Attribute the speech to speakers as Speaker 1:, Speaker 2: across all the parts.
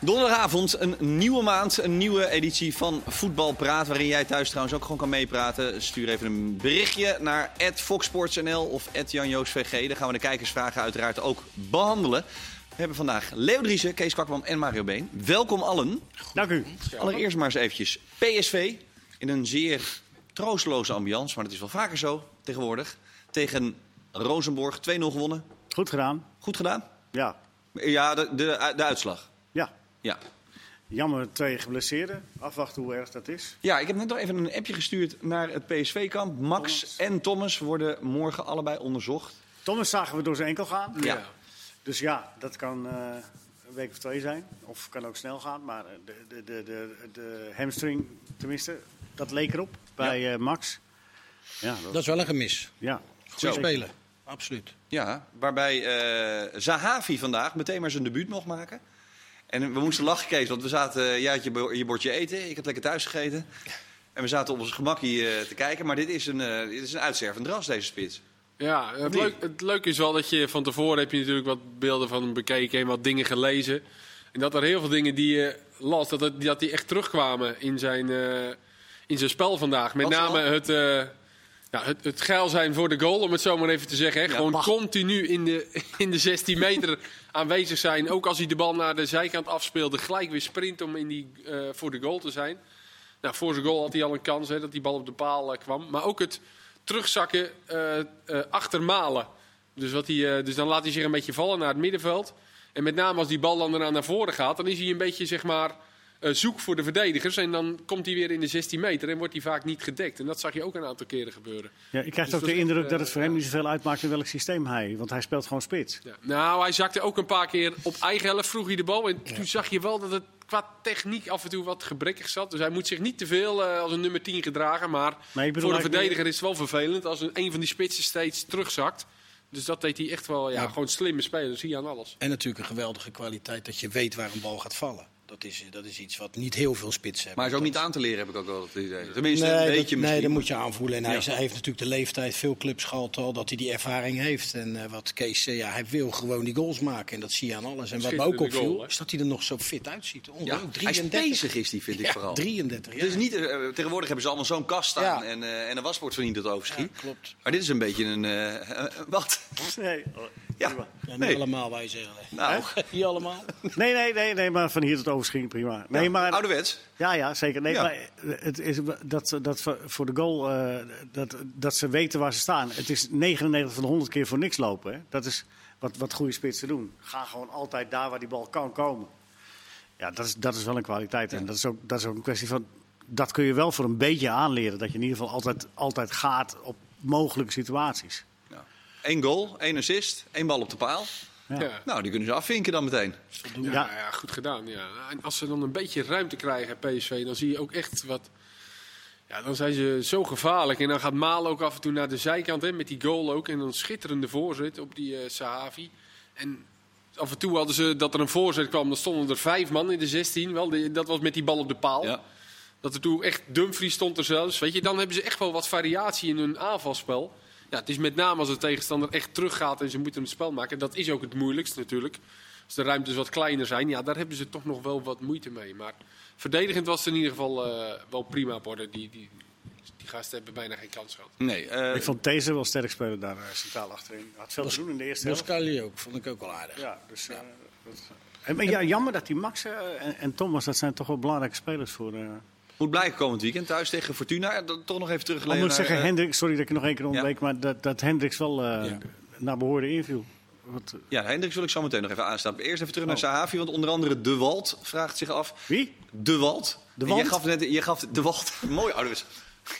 Speaker 1: Donderdagavond, een nieuwe maand, een nieuwe editie van Voetbal Praat. Waarin jij thuis trouwens ook gewoon kan meepraten. Stuur even een berichtje naar FoxSportsNL of @janjoosvg. Dan gaan we de kijkersvragen uiteraard ook behandelen. We hebben vandaag Leo Driessen, Kees Kwakman en Mario Been. Welkom allen.
Speaker 2: Dank u.
Speaker 1: Allereerst maar eens eventjes PSV in een zeer troosteloze ambiance. Maar dat is wel vaker zo tegenwoordig. Tegen Rosenborg 2-0 gewonnen.
Speaker 2: Goed gedaan.
Speaker 1: Goed gedaan.
Speaker 2: Ja.
Speaker 1: Ja, de, de, de uitslag.
Speaker 2: ja.
Speaker 1: Ja.
Speaker 2: Jammer, twee geblesseerden. Afwachten hoe erg dat is.
Speaker 1: ja, ik heb net nog even een appje gestuurd naar het PSV-kamp. Max
Speaker 2: Thomas.
Speaker 1: en Thomas worden morgen allebei onderzocht.
Speaker 2: Thomas zagen we door zijn enkel gaan.
Speaker 1: Ja.
Speaker 2: Dus ja, dat kan eh, een week of twee zijn. Of kan ook snel gaan. Maar eh, de, de, de, de, de hamstring, tenminste, dat leek erop bij eh, Max. Ja, dat,
Speaker 3: Dat is wel een gemis.
Speaker 2: ja.
Speaker 3: Goed
Speaker 1: Zo.
Speaker 3: spelen. Absoluut.
Speaker 1: Ja, waarbij eh Zahavi vandaag meteen maar zijn debuut mocht maken. En we moesten lachen, Kees, want we zaten, eh, jij had je, bo- je bordje eten, ik heb lekker thuis gegeten. En we zaten op ons gemak hier eh, te kijken, maar dit is een, eh, dit is een uitstervend ras, deze spits.
Speaker 4: Ja, het,
Speaker 1: niet?
Speaker 4: leuk, het leuke is wel dat je van tevoren heb je natuurlijk wat beelden van hem bekeken en wat dingen gelezen. En dat er heel veel dingen die je las, dat, het- dat die echt terugkwamen in zijn, eh, in zijn spel vandaag. Met
Speaker 1: Wat
Speaker 4: name
Speaker 1: dan?
Speaker 4: het, eh, ja, het, het geil zijn voor de goal, om het zo maar even te zeggen. Hè.
Speaker 1: Ja,
Speaker 4: Gewoon
Speaker 1: mag.
Speaker 4: continu in de, in de 16 meter aanwezig zijn. Ook als hij de bal naar de zijkant afspeelde, gelijk weer sprint om in die, eh, voor de goal te zijn. Nou, voor zijn goal had hij al een kans hè, dat die bal op de paal eh, kwam. Maar ook het terugzakken eh, eh, achtermalen. Dus, wat hij, eh, dus dan laat hij zich een beetje vallen naar het middenveld. En met name als die bal dan daarna naar voren gaat, dan is hij een beetje zeg maar, eh, zoek voor de verdedigers. En dan komt hij weer in de 16 meter en wordt hij vaak niet gedekt. En dat zag je ook een aantal keren gebeuren.
Speaker 2: ja ik krijg
Speaker 4: Dus
Speaker 2: ook de
Speaker 4: dat-
Speaker 2: indruk dat het voor hem niet zoveel uitmaakt in welk systeem hij... Want hij speelt gewoon spits.
Speaker 4: Ja. Nou, hij zakte ook een paar keer op eigen helft, vroeg hij de bal. En toen zag je wel dat het qua techniek af en toe wat gebrekkig zat. Dus hij moet zich niet te veel eh, als een nummer 10 gedragen. Maar,
Speaker 2: Maar ik bedoel
Speaker 4: voor een
Speaker 2: eigenlijk
Speaker 4: verdediger is het wel vervelend als een, een van die spitsen steeds terugzakt. Dus dat deed hij echt wel, ja,
Speaker 3: Ja.
Speaker 4: gewoon slimme spelen. Zie je aan alles.
Speaker 3: En natuurlijk een geweldige kwaliteit dat je weet waar een bal gaat vallen. Dat is, dat is iets wat niet heel veel spitsen hebben.
Speaker 1: Maar hij is ook niet
Speaker 3: Dat-
Speaker 1: aan te leren, heb ik ook wel het idee. Tenminste,
Speaker 3: Nee,
Speaker 1: een
Speaker 3: dat,
Speaker 1: beetje
Speaker 3: nee,
Speaker 1: misschien.
Speaker 3: dat moet je aanvoelen. En hij,
Speaker 1: Ja.
Speaker 3: is- hij heeft natuurlijk de leeftijd, veel clubs gehad al, dat hij die ervaring heeft. En eh, wat Kees zei, ja, hij wil gewoon die goals maken. En dat zie je aan alles. En wat me ook
Speaker 4: schitterende
Speaker 3: opviel,
Speaker 4: goal, hè?
Speaker 3: is dat hij er nog zo fit uitziet.
Speaker 1: Ja,
Speaker 3: Ongelooflijk.
Speaker 1: hij is
Speaker 3: 33.
Speaker 1: bezig is die, vind ik
Speaker 3: Ja,
Speaker 1: vooral.
Speaker 3: 33,
Speaker 1: Het is niet, eh, tegenwoordig hebben ze allemaal zo'n kast staan
Speaker 3: Ja.
Speaker 1: en, eh, en een wasbord van dat overschiet.
Speaker 3: Ja, klopt.
Speaker 1: Maar dit is een beetje een... eh, eh, wat?
Speaker 2: Nee,
Speaker 1: Ja,
Speaker 3: Ja, niet
Speaker 1: nee.
Speaker 3: allemaal, wij zeggen.
Speaker 1: Nou,
Speaker 3: Niet allemaal.
Speaker 2: nee, nee, nee, nee, maar van hier tot oversching prima. Nee,
Speaker 4: Oh,
Speaker 2: maar
Speaker 1: ouderwets.
Speaker 2: Ja, ja, zeker. Nee,
Speaker 1: Ja.
Speaker 2: Maar het is dat, dat voor- voor de goal eh, dat, dat ze weten waar ze staan. Het is 99 van de 100 keer voor niks lopen. Hè? Dat is wat, wat goede spitsen doen. Ga gewoon altijd daar waar die bal kan komen. Ja, dat is, dat is wel een kwaliteit. En dat is, ook, dat is ook een kwestie van. Dat kun je wel voor een beetje aanleren. Dat je in ieder geval altijd, altijd gaat op mogelijke situaties.
Speaker 1: Ja. Eén goal, één assist, één bal op de paal.
Speaker 2: Ja.
Speaker 4: Ja.
Speaker 1: Nou, die kunnen ze afvinken dan meteen.
Speaker 4: Ja,
Speaker 2: Ja.
Speaker 4: nou ja, goed gedaan. Ja. En als ze dan een beetje ruimte krijgen, PSV, dan zie je ook echt wat. Ja, dan zijn ze zo gevaarlijk. En dan gaat Malen ook af en toe naar de zijkant hè, met die goal ook. En dan schitterende voorzet op die eh, Sahavi. En Dus af en toe hadden ze dat er een voorzet kwam. Dan stonden er vijf man in de 16. Wel, die- dat was met die bal op de paal.
Speaker 1: Ja.
Speaker 4: Dat er toen echt Dumfries stond er zelfs. Weet je, dan hebben ze echt wel wat variatie in hun aanvalspel. Ja, het is met name als de tegenstander echt teruggaat en ze moeten een spel maken. Dat is ook het moeilijkst natuurlijk. Als de ruimtes wat kleiner zijn, ja, daar hebben ze toch nog wel wat moeite mee. Maar verdedigend was het in ieder geval eh, wel prima op orde. Die, die, die gasten hebben bijna geen kans gehad.
Speaker 1: Nee, eh,
Speaker 2: Ik vond deze wel sterk spelen daar eh, centraal achterin. Had veel te doen in de eerste helft.
Speaker 3: Boscali ook, vond ik ook wel aardig.
Speaker 2: Ja, dus, eh, dat- en, en ja, jammer dat die Max eh, en, en Thomas, dat zijn toch wel belangrijke spelers voor. eh.
Speaker 1: moet blijken komend weekend thuis tegen Fortuna. Eh, dan Toch nog even terug
Speaker 2: Ik moet zeggen,
Speaker 1: eh,
Speaker 2: Hendrik, sorry dat ik nog één keer ontbreek, maar dat, dat Hendricks wel eh,
Speaker 3: Ja.
Speaker 2: naar behoren inviel. Wat, eh,
Speaker 1: ja, Hendrik wil ik zo meteen nog even aanstappen. Eerst even terug naar Sahavi, want onder andere De Wald vraagt zich af.
Speaker 2: Oh. wie?
Speaker 1: De Wald?
Speaker 2: De
Speaker 1: Je
Speaker 2: Wald?
Speaker 1: gaf, net, je gaf De Wald. Mooi ouderwets.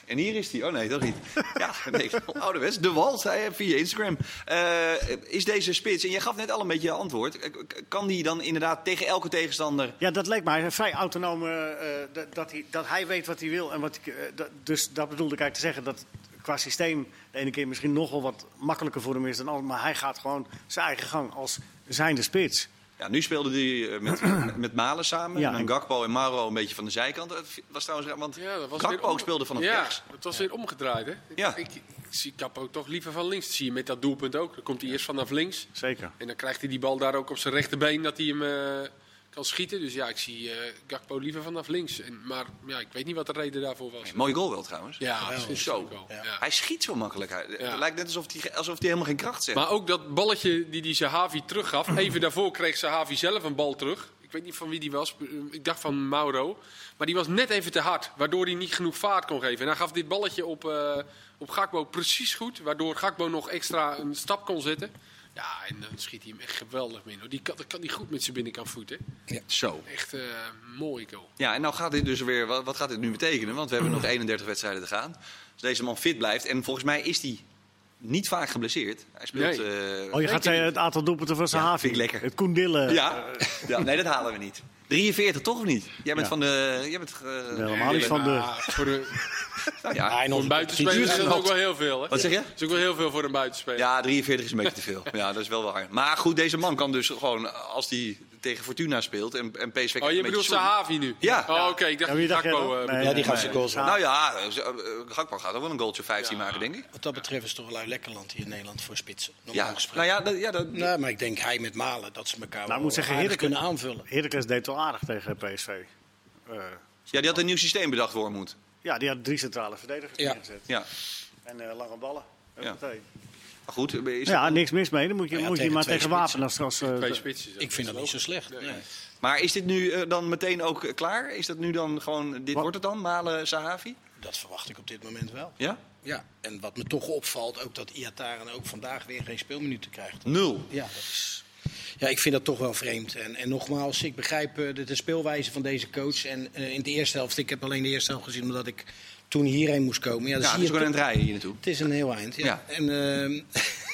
Speaker 1: En hier is hij. Oh nee, dat niet. Ja, nee, ouderwets. De Wald, hij, eh, via Instagram. Eh, is deze spits, en jij gaf net al een beetje je antwoord. Eh, k- Kan die dan inderdaad tegen elke tegenstander...
Speaker 2: Ja, dat leek mij een vrij autonoom eh, eh, dat, dat, hij, dat hij weet wat hij wil. En wat, ik, eh, dat- dus dat bedoelde ik eigenlijk te zeggen dat qua systeem de ene keer misschien nogal wat makkelijker voor hem is dan anders. Maar hij gaat gewoon zijn eigen gang als zijnde spits.
Speaker 1: Ja, nu speelde hij eh, met, met Malen samen.
Speaker 2: Ja,
Speaker 1: en
Speaker 2: en-
Speaker 1: Gakpo en Maro een beetje van de zijkant. Dat was trouwens raar, want
Speaker 4: Ja, dat was
Speaker 1: Gakpo
Speaker 4: weer om-
Speaker 1: speelde vanaf
Speaker 4: ja,
Speaker 1: rechts.
Speaker 4: het was weer omgedraaid, hè?
Speaker 1: Ja.
Speaker 4: Ik, ik zie Kapo toch liever van links. Dat zie je met dat doelpunt ook. Dan komt hij eerst vanaf links.
Speaker 2: Zeker.
Speaker 4: En dan krijgt hij die bal daar ook op zijn rechterbeen dat hij hem eh, kan schieten. Dus ja, ik zie eh, Gakpo liever vanaf links. En, maar ja, ik weet niet wat de reden daarvoor was.
Speaker 1: Mooie goal wel trouwens.
Speaker 4: Ja,
Speaker 3: Geweldig.
Speaker 4: dat is
Speaker 1: Zo.
Speaker 4: ook wel.
Speaker 3: Ja.
Speaker 4: Ja.
Speaker 1: Hij schiet zo makkelijk. Hij- eh,
Speaker 4: Ja.
Speaker 1: Het lijkt net alsof hij alsof die helemaal geen kracht zet.
Speaker 4: Maar ook dat balletje die die Zahavi teruggaf. Even daarvoor kreeg Zahavi zelf een bal terug. Ik weet niet van wie die was. Ik dacht van Mauro. Maar die was net even te hard. Waardoor hij niet genoeg vaart kon geven. En hij gaf dit balletje op, eh, op Gakbo precies goed. Waardoor Gakbo nog extra een stap kon zetten. Ja, en dan schiet hij hem echt geweldig binnen. hoor. Die kan, dat kan hij goed met zijn binnenkant voet. Hè.
Speaker 1: Zo.
Speaker 4: Echt eh mooi goal.
Speaker 1: Ja, en nou gaat dit dus weer. Wat, wat gaat dit nu betekenen? Want we hebben nog 31 wedstrijden te gaan. Als deze man fit blijft. En volgens mij is hij niet vaak geblesseerd. Hij speelt. eh,
Speaker 2: Oh, je gaat
Speaker 4: ik
Speaker 2: zeggen het aantal doelpunten van Sahavi.
Speaker 1: vind ik lekker.
Speaker 2: Het Koendille.
Speaker 1: ja. ja, nee, dat halen we niet. 43 toch of niet? Jij bent
Speaker 2: Ja.
Speaker 1: van de. Jij bent. eh,
Speaker 2: Ja, helemaal niet van de...
Speaker 4: Maar voor, een-
Speaker 1: nou ja.
Speaker 3: Ja, in
Speaker 4: voor een
Speaker 3: onze
Speaker 4: buitenspeler
Speaker 1: Die
Speaker 4: is
Speaker 1: duurt
Speaker 4: dat
Speaker 1: wel.
Speaker 4: ook wel heel veel. Hè?
Speaker 1: Wat zeg je?
Speaker 4: Dat is ook wel heel veel voor een buitenspeler.
Speaker 1: Ja, 43 is een beetje te veel. Ja, dat is wel waar. Maar goed, deze man kan dus gewoon, als hij tegen Fortuna speelt en, en PSV...
Speaker 4: Oh,
Speaker 1: een
Speaker 4: je
Speaker 1: beetje
Speaker 4: bedoelt
Speaker 1: zoen.
Speaker 4: Sahavi nu?
Speaker 1: Ja.
Speaker 4: Oh, oké. Ik dacht
Speaker 2: Ja, wie dacht jij
Speaker 4: Gakpo,
Speaker 2: dan?
Speaker 4: eh,
Speaker 2: Nee,
Speaker 3: Ja, die
Speaker 2: nee,
Speaker 3: gaat
Speaker 2: nee.
Speaker 3: zijn goals maken.
Speaker 1: Nou ja, eh, eh, Gakpo gaat ook wel een goaltje 15 maken, denk ik.
Speaker 3: Wat dat betreft is toch wel lekker land hier in Nederland voor spitsen. Normaal
Speaker 1: Ja,
Speaker 3: gesproken.
Speaker 1: nou ja, dat, ja dat,
Speaker 3: Nou, maar ik denk hij met Malen dat ze elkaar
Speaker 2: Nou, ik moet
Speaker 3: wel
Speaker 2: zeggen,
Speaker 3: aardig
Speaker 2: Heerlijk-
Speaker 3: kunnen aanvullen.
Speaker 2: Heracles deed wel aardig tegen PSV. Eh,
Speaker 1: ja, die had een nieuw systeem bedacht worden moet.
Speaker 2: ja, die had drie centrale verdedigers
Speaker 3: Ja.
Speaker 2: neergezet.
Speaker 1: Ja,
Speaker 2: En eh, lange ballen.
Speaker 1: Ja.
Speaker 2: Ja.
Speaker 1: maar goed. eh, Is
Speaker 2: ja, niks mis mee. Dan moet je,
Speaker 3: Nou ja,
Speaker 2: moet je
Speaker 3: tegen
Speaker 2: maar
Speaker 3: twee
Speaker 2: tegen
Speaker 3: spitsen.
Speaker 2: wapenen als... eh,
Speaker 4: Twee spitsen.
Speaker 3: Ik vind dat niet zo slecht. nee.
Speaker 1: Maar is dit nu eh, dan meteen ook eh, klaar? Is dat nu dan gewoon, dit
Speaker 2: Wat?
Speaker 1: wordt het dan, Malen, Sahavi?
Speaker 3: Dat verwacht ik op dit moment wel.
Speaker 1: Ja?
Speaker 3: Ja. En wat me toch opvalt, ook dat Iataren ook vandaag weer geen speelminuten krijgt.
Speaker 1: Nul.
Speaker 3: Ja, dat is... ja ik vind dat toch wel vreemd. En, en nogmaals, ik begrijp eh, de, de speelwijze van deze coach. En eh, in de eerste helft, ik heb alleen de eerste helft gezien omdat ik toen hierheen moest komen. Ja, dan
Speaker 1: Ja,
Speaker 3: zie
Speaker 1: dus
Speaker 3: je
Speaker 1: we gaan aan
Speaker 3: toch-
Speaker 1: het rijden hier naartoe.
Speaker 3: Het is een heel eind, ja.
Speaker 1: Ja.
Speaker 3: En, ehm,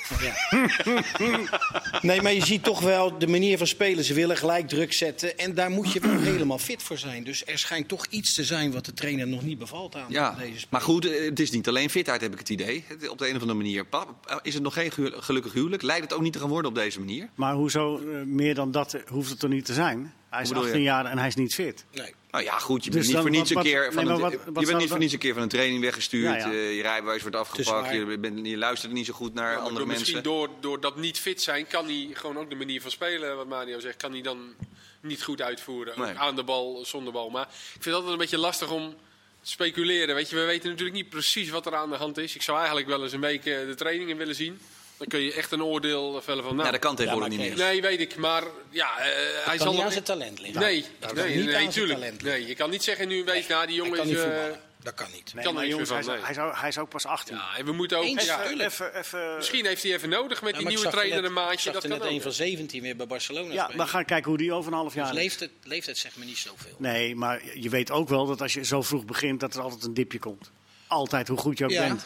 Speaker 3: ja. nee, maar je ziet toch wel de manier van spelen. Ze willen gelijk druk zetten. En daar moet je wel helemaal fit voor zijn. Dus er schijnt toch iets te zijn wat de trainer nog niet bevalt aan
Speaker 1: Ja,
Speaker 3: deze speler.
Speaker 1: maar goed, eh, het is niet alleen fitheid, heb ik het idee. Het- Op de een of andere manier. Pap, eh, is het nog geen gehu- gelukkig huwelijk? Lijkt het ook niet te gaan worden op deze manier?
Speaker 2: Maar hoezo eh, meer dan dat eh, hoeft het er niet te zijn? Hij is
Speaker 1: bedoel je?
Speaker 2: 18 jaar en hij is niet fit.
Speaker 3: Nee.
Speaker 1: Nou ja, goed, je
Speaker 2: Dus
Speaker 1: bent niet
Speaker 2: dan
Speaker 1: voor niets
Speaker 2: wat-
Speaker 1: een
Speaker 2: wat-
Speaker 1: keer
Speaker 2: nee,
Speaker 1: van
Speaker 2: maar
Speaker 1: een-
Speaker 2: wat-
Speaker 1: je
Speaker 2: wat
Speaker 1: bent
Speaker 2: zou
Speaker 1: niet
Speaker 2: dan-
Speaker 1: voor niets een keer van een training weggestuurd.
Speaker 2: Ja, ja.
Speaker 1: eh, je rijbewijs wordt afgepakt.
Speaker 3: waar.
Speaker 1: Je, bent, je luistert niet zo goed naar
Speaker 4: Ja, maar
Speaker 1: andere
Speaker 4: door-
Speaker 1: mensen.
Speaker 4: Misschien door, door dat niet fit zijn, kan hij gewoon ook de manier van spelen, wat Mario zegt, kan hij dan niet goed uitvoeren. Ook
Speaker 1: Nee.
Speaker 4: Aan de bal, zonder bal. Maar ik vind het altijd een beetje lastig om te speculeren. Weet je, we weten natuurlijk niet precies wat er aan de hand is. Ik zou eigenlijk wel eens een week eh, de trainingen willen zien. Dan kun je echt een oordeel vellen van. Nou,
Speaker 1: ja, dat kan tegenwoordig
Speaker 3: Ja, maar
Speaker 1: niet meer.
Speaker 3: kijk,
Speaker 4: Nee, weet ik. Maar ja, eh, hij
Speaker 3: kan
Speaker 4: zal
Speaker 3: niet
Speaker 4: nog-
Speaker 3: aan zijn talent liggen.
Speaker 4: Nee,
Speaker 3: Dat kan
Speaker 4: nee,
Speaker 3: niet
Speaker 4: nee,
Speaker 3: aan zijn
Speaker 4: tuurlijk.
Speaker 3: talent
Speaker 4: Nee, je kan niet zeggen nu een week na die
Speaker 3: Hij
Speaker 4: jongen
Speaker 3: kan
Speaker 4: is.
Speaker 3: niet
Speaker 4: eh,
Speaker 3: voetballen. Dat kan niet.
Speaker 2: Nee,
Speaker 4: Kan
Speaker 2: maar
Speaker 4: niks
Speaker 2: jongens,
Speaker 4: meer
Speaker 2: hij
Speaker 4: van,
Speaker 2: is, hij, is, ook- hij is ook pas 18.
Speaker 4: ja, en we moeten ook.
Speaker 3: Eens,
Speaker 4: ja,
Speaker 3: tuurlijk.
Speaker 2: Even, even...
Speaker 4: Misschien heeft hij even nodig met
Speaker 3: Ja,
Speaker 4: die
Speaker 3: maar ik
Speaker 4: nieuwe
Speaker 3: zag er
Speaker 4: trainer een
Speaker 3: net- Ik
Speaker 4: maatje.
Speaker 3: zag
Speaker 4: Dat
Speaker 3: er
Speaker 4: kan
Speaker 3: net
Speaker 4: ook.
Speaker 3: een van 17 weer bij Barcelona
Speaker 2: Ja,
Speaker 3: spelen.
Speaker 2: we gaan kijken hoe die over een half
Speaker 3: Dus
Speaker 2: jaar is.
Speaker 3: leeftijd, leeftijd zegt me niet zoveel.
Speaker 2: Nee, maar je weet ook wel dat als je zo vroeg begint, dat er altijd een dipje komt. Altijd, hoe goed je ook
Speaker 3: Ja.
Speaker 2: bent.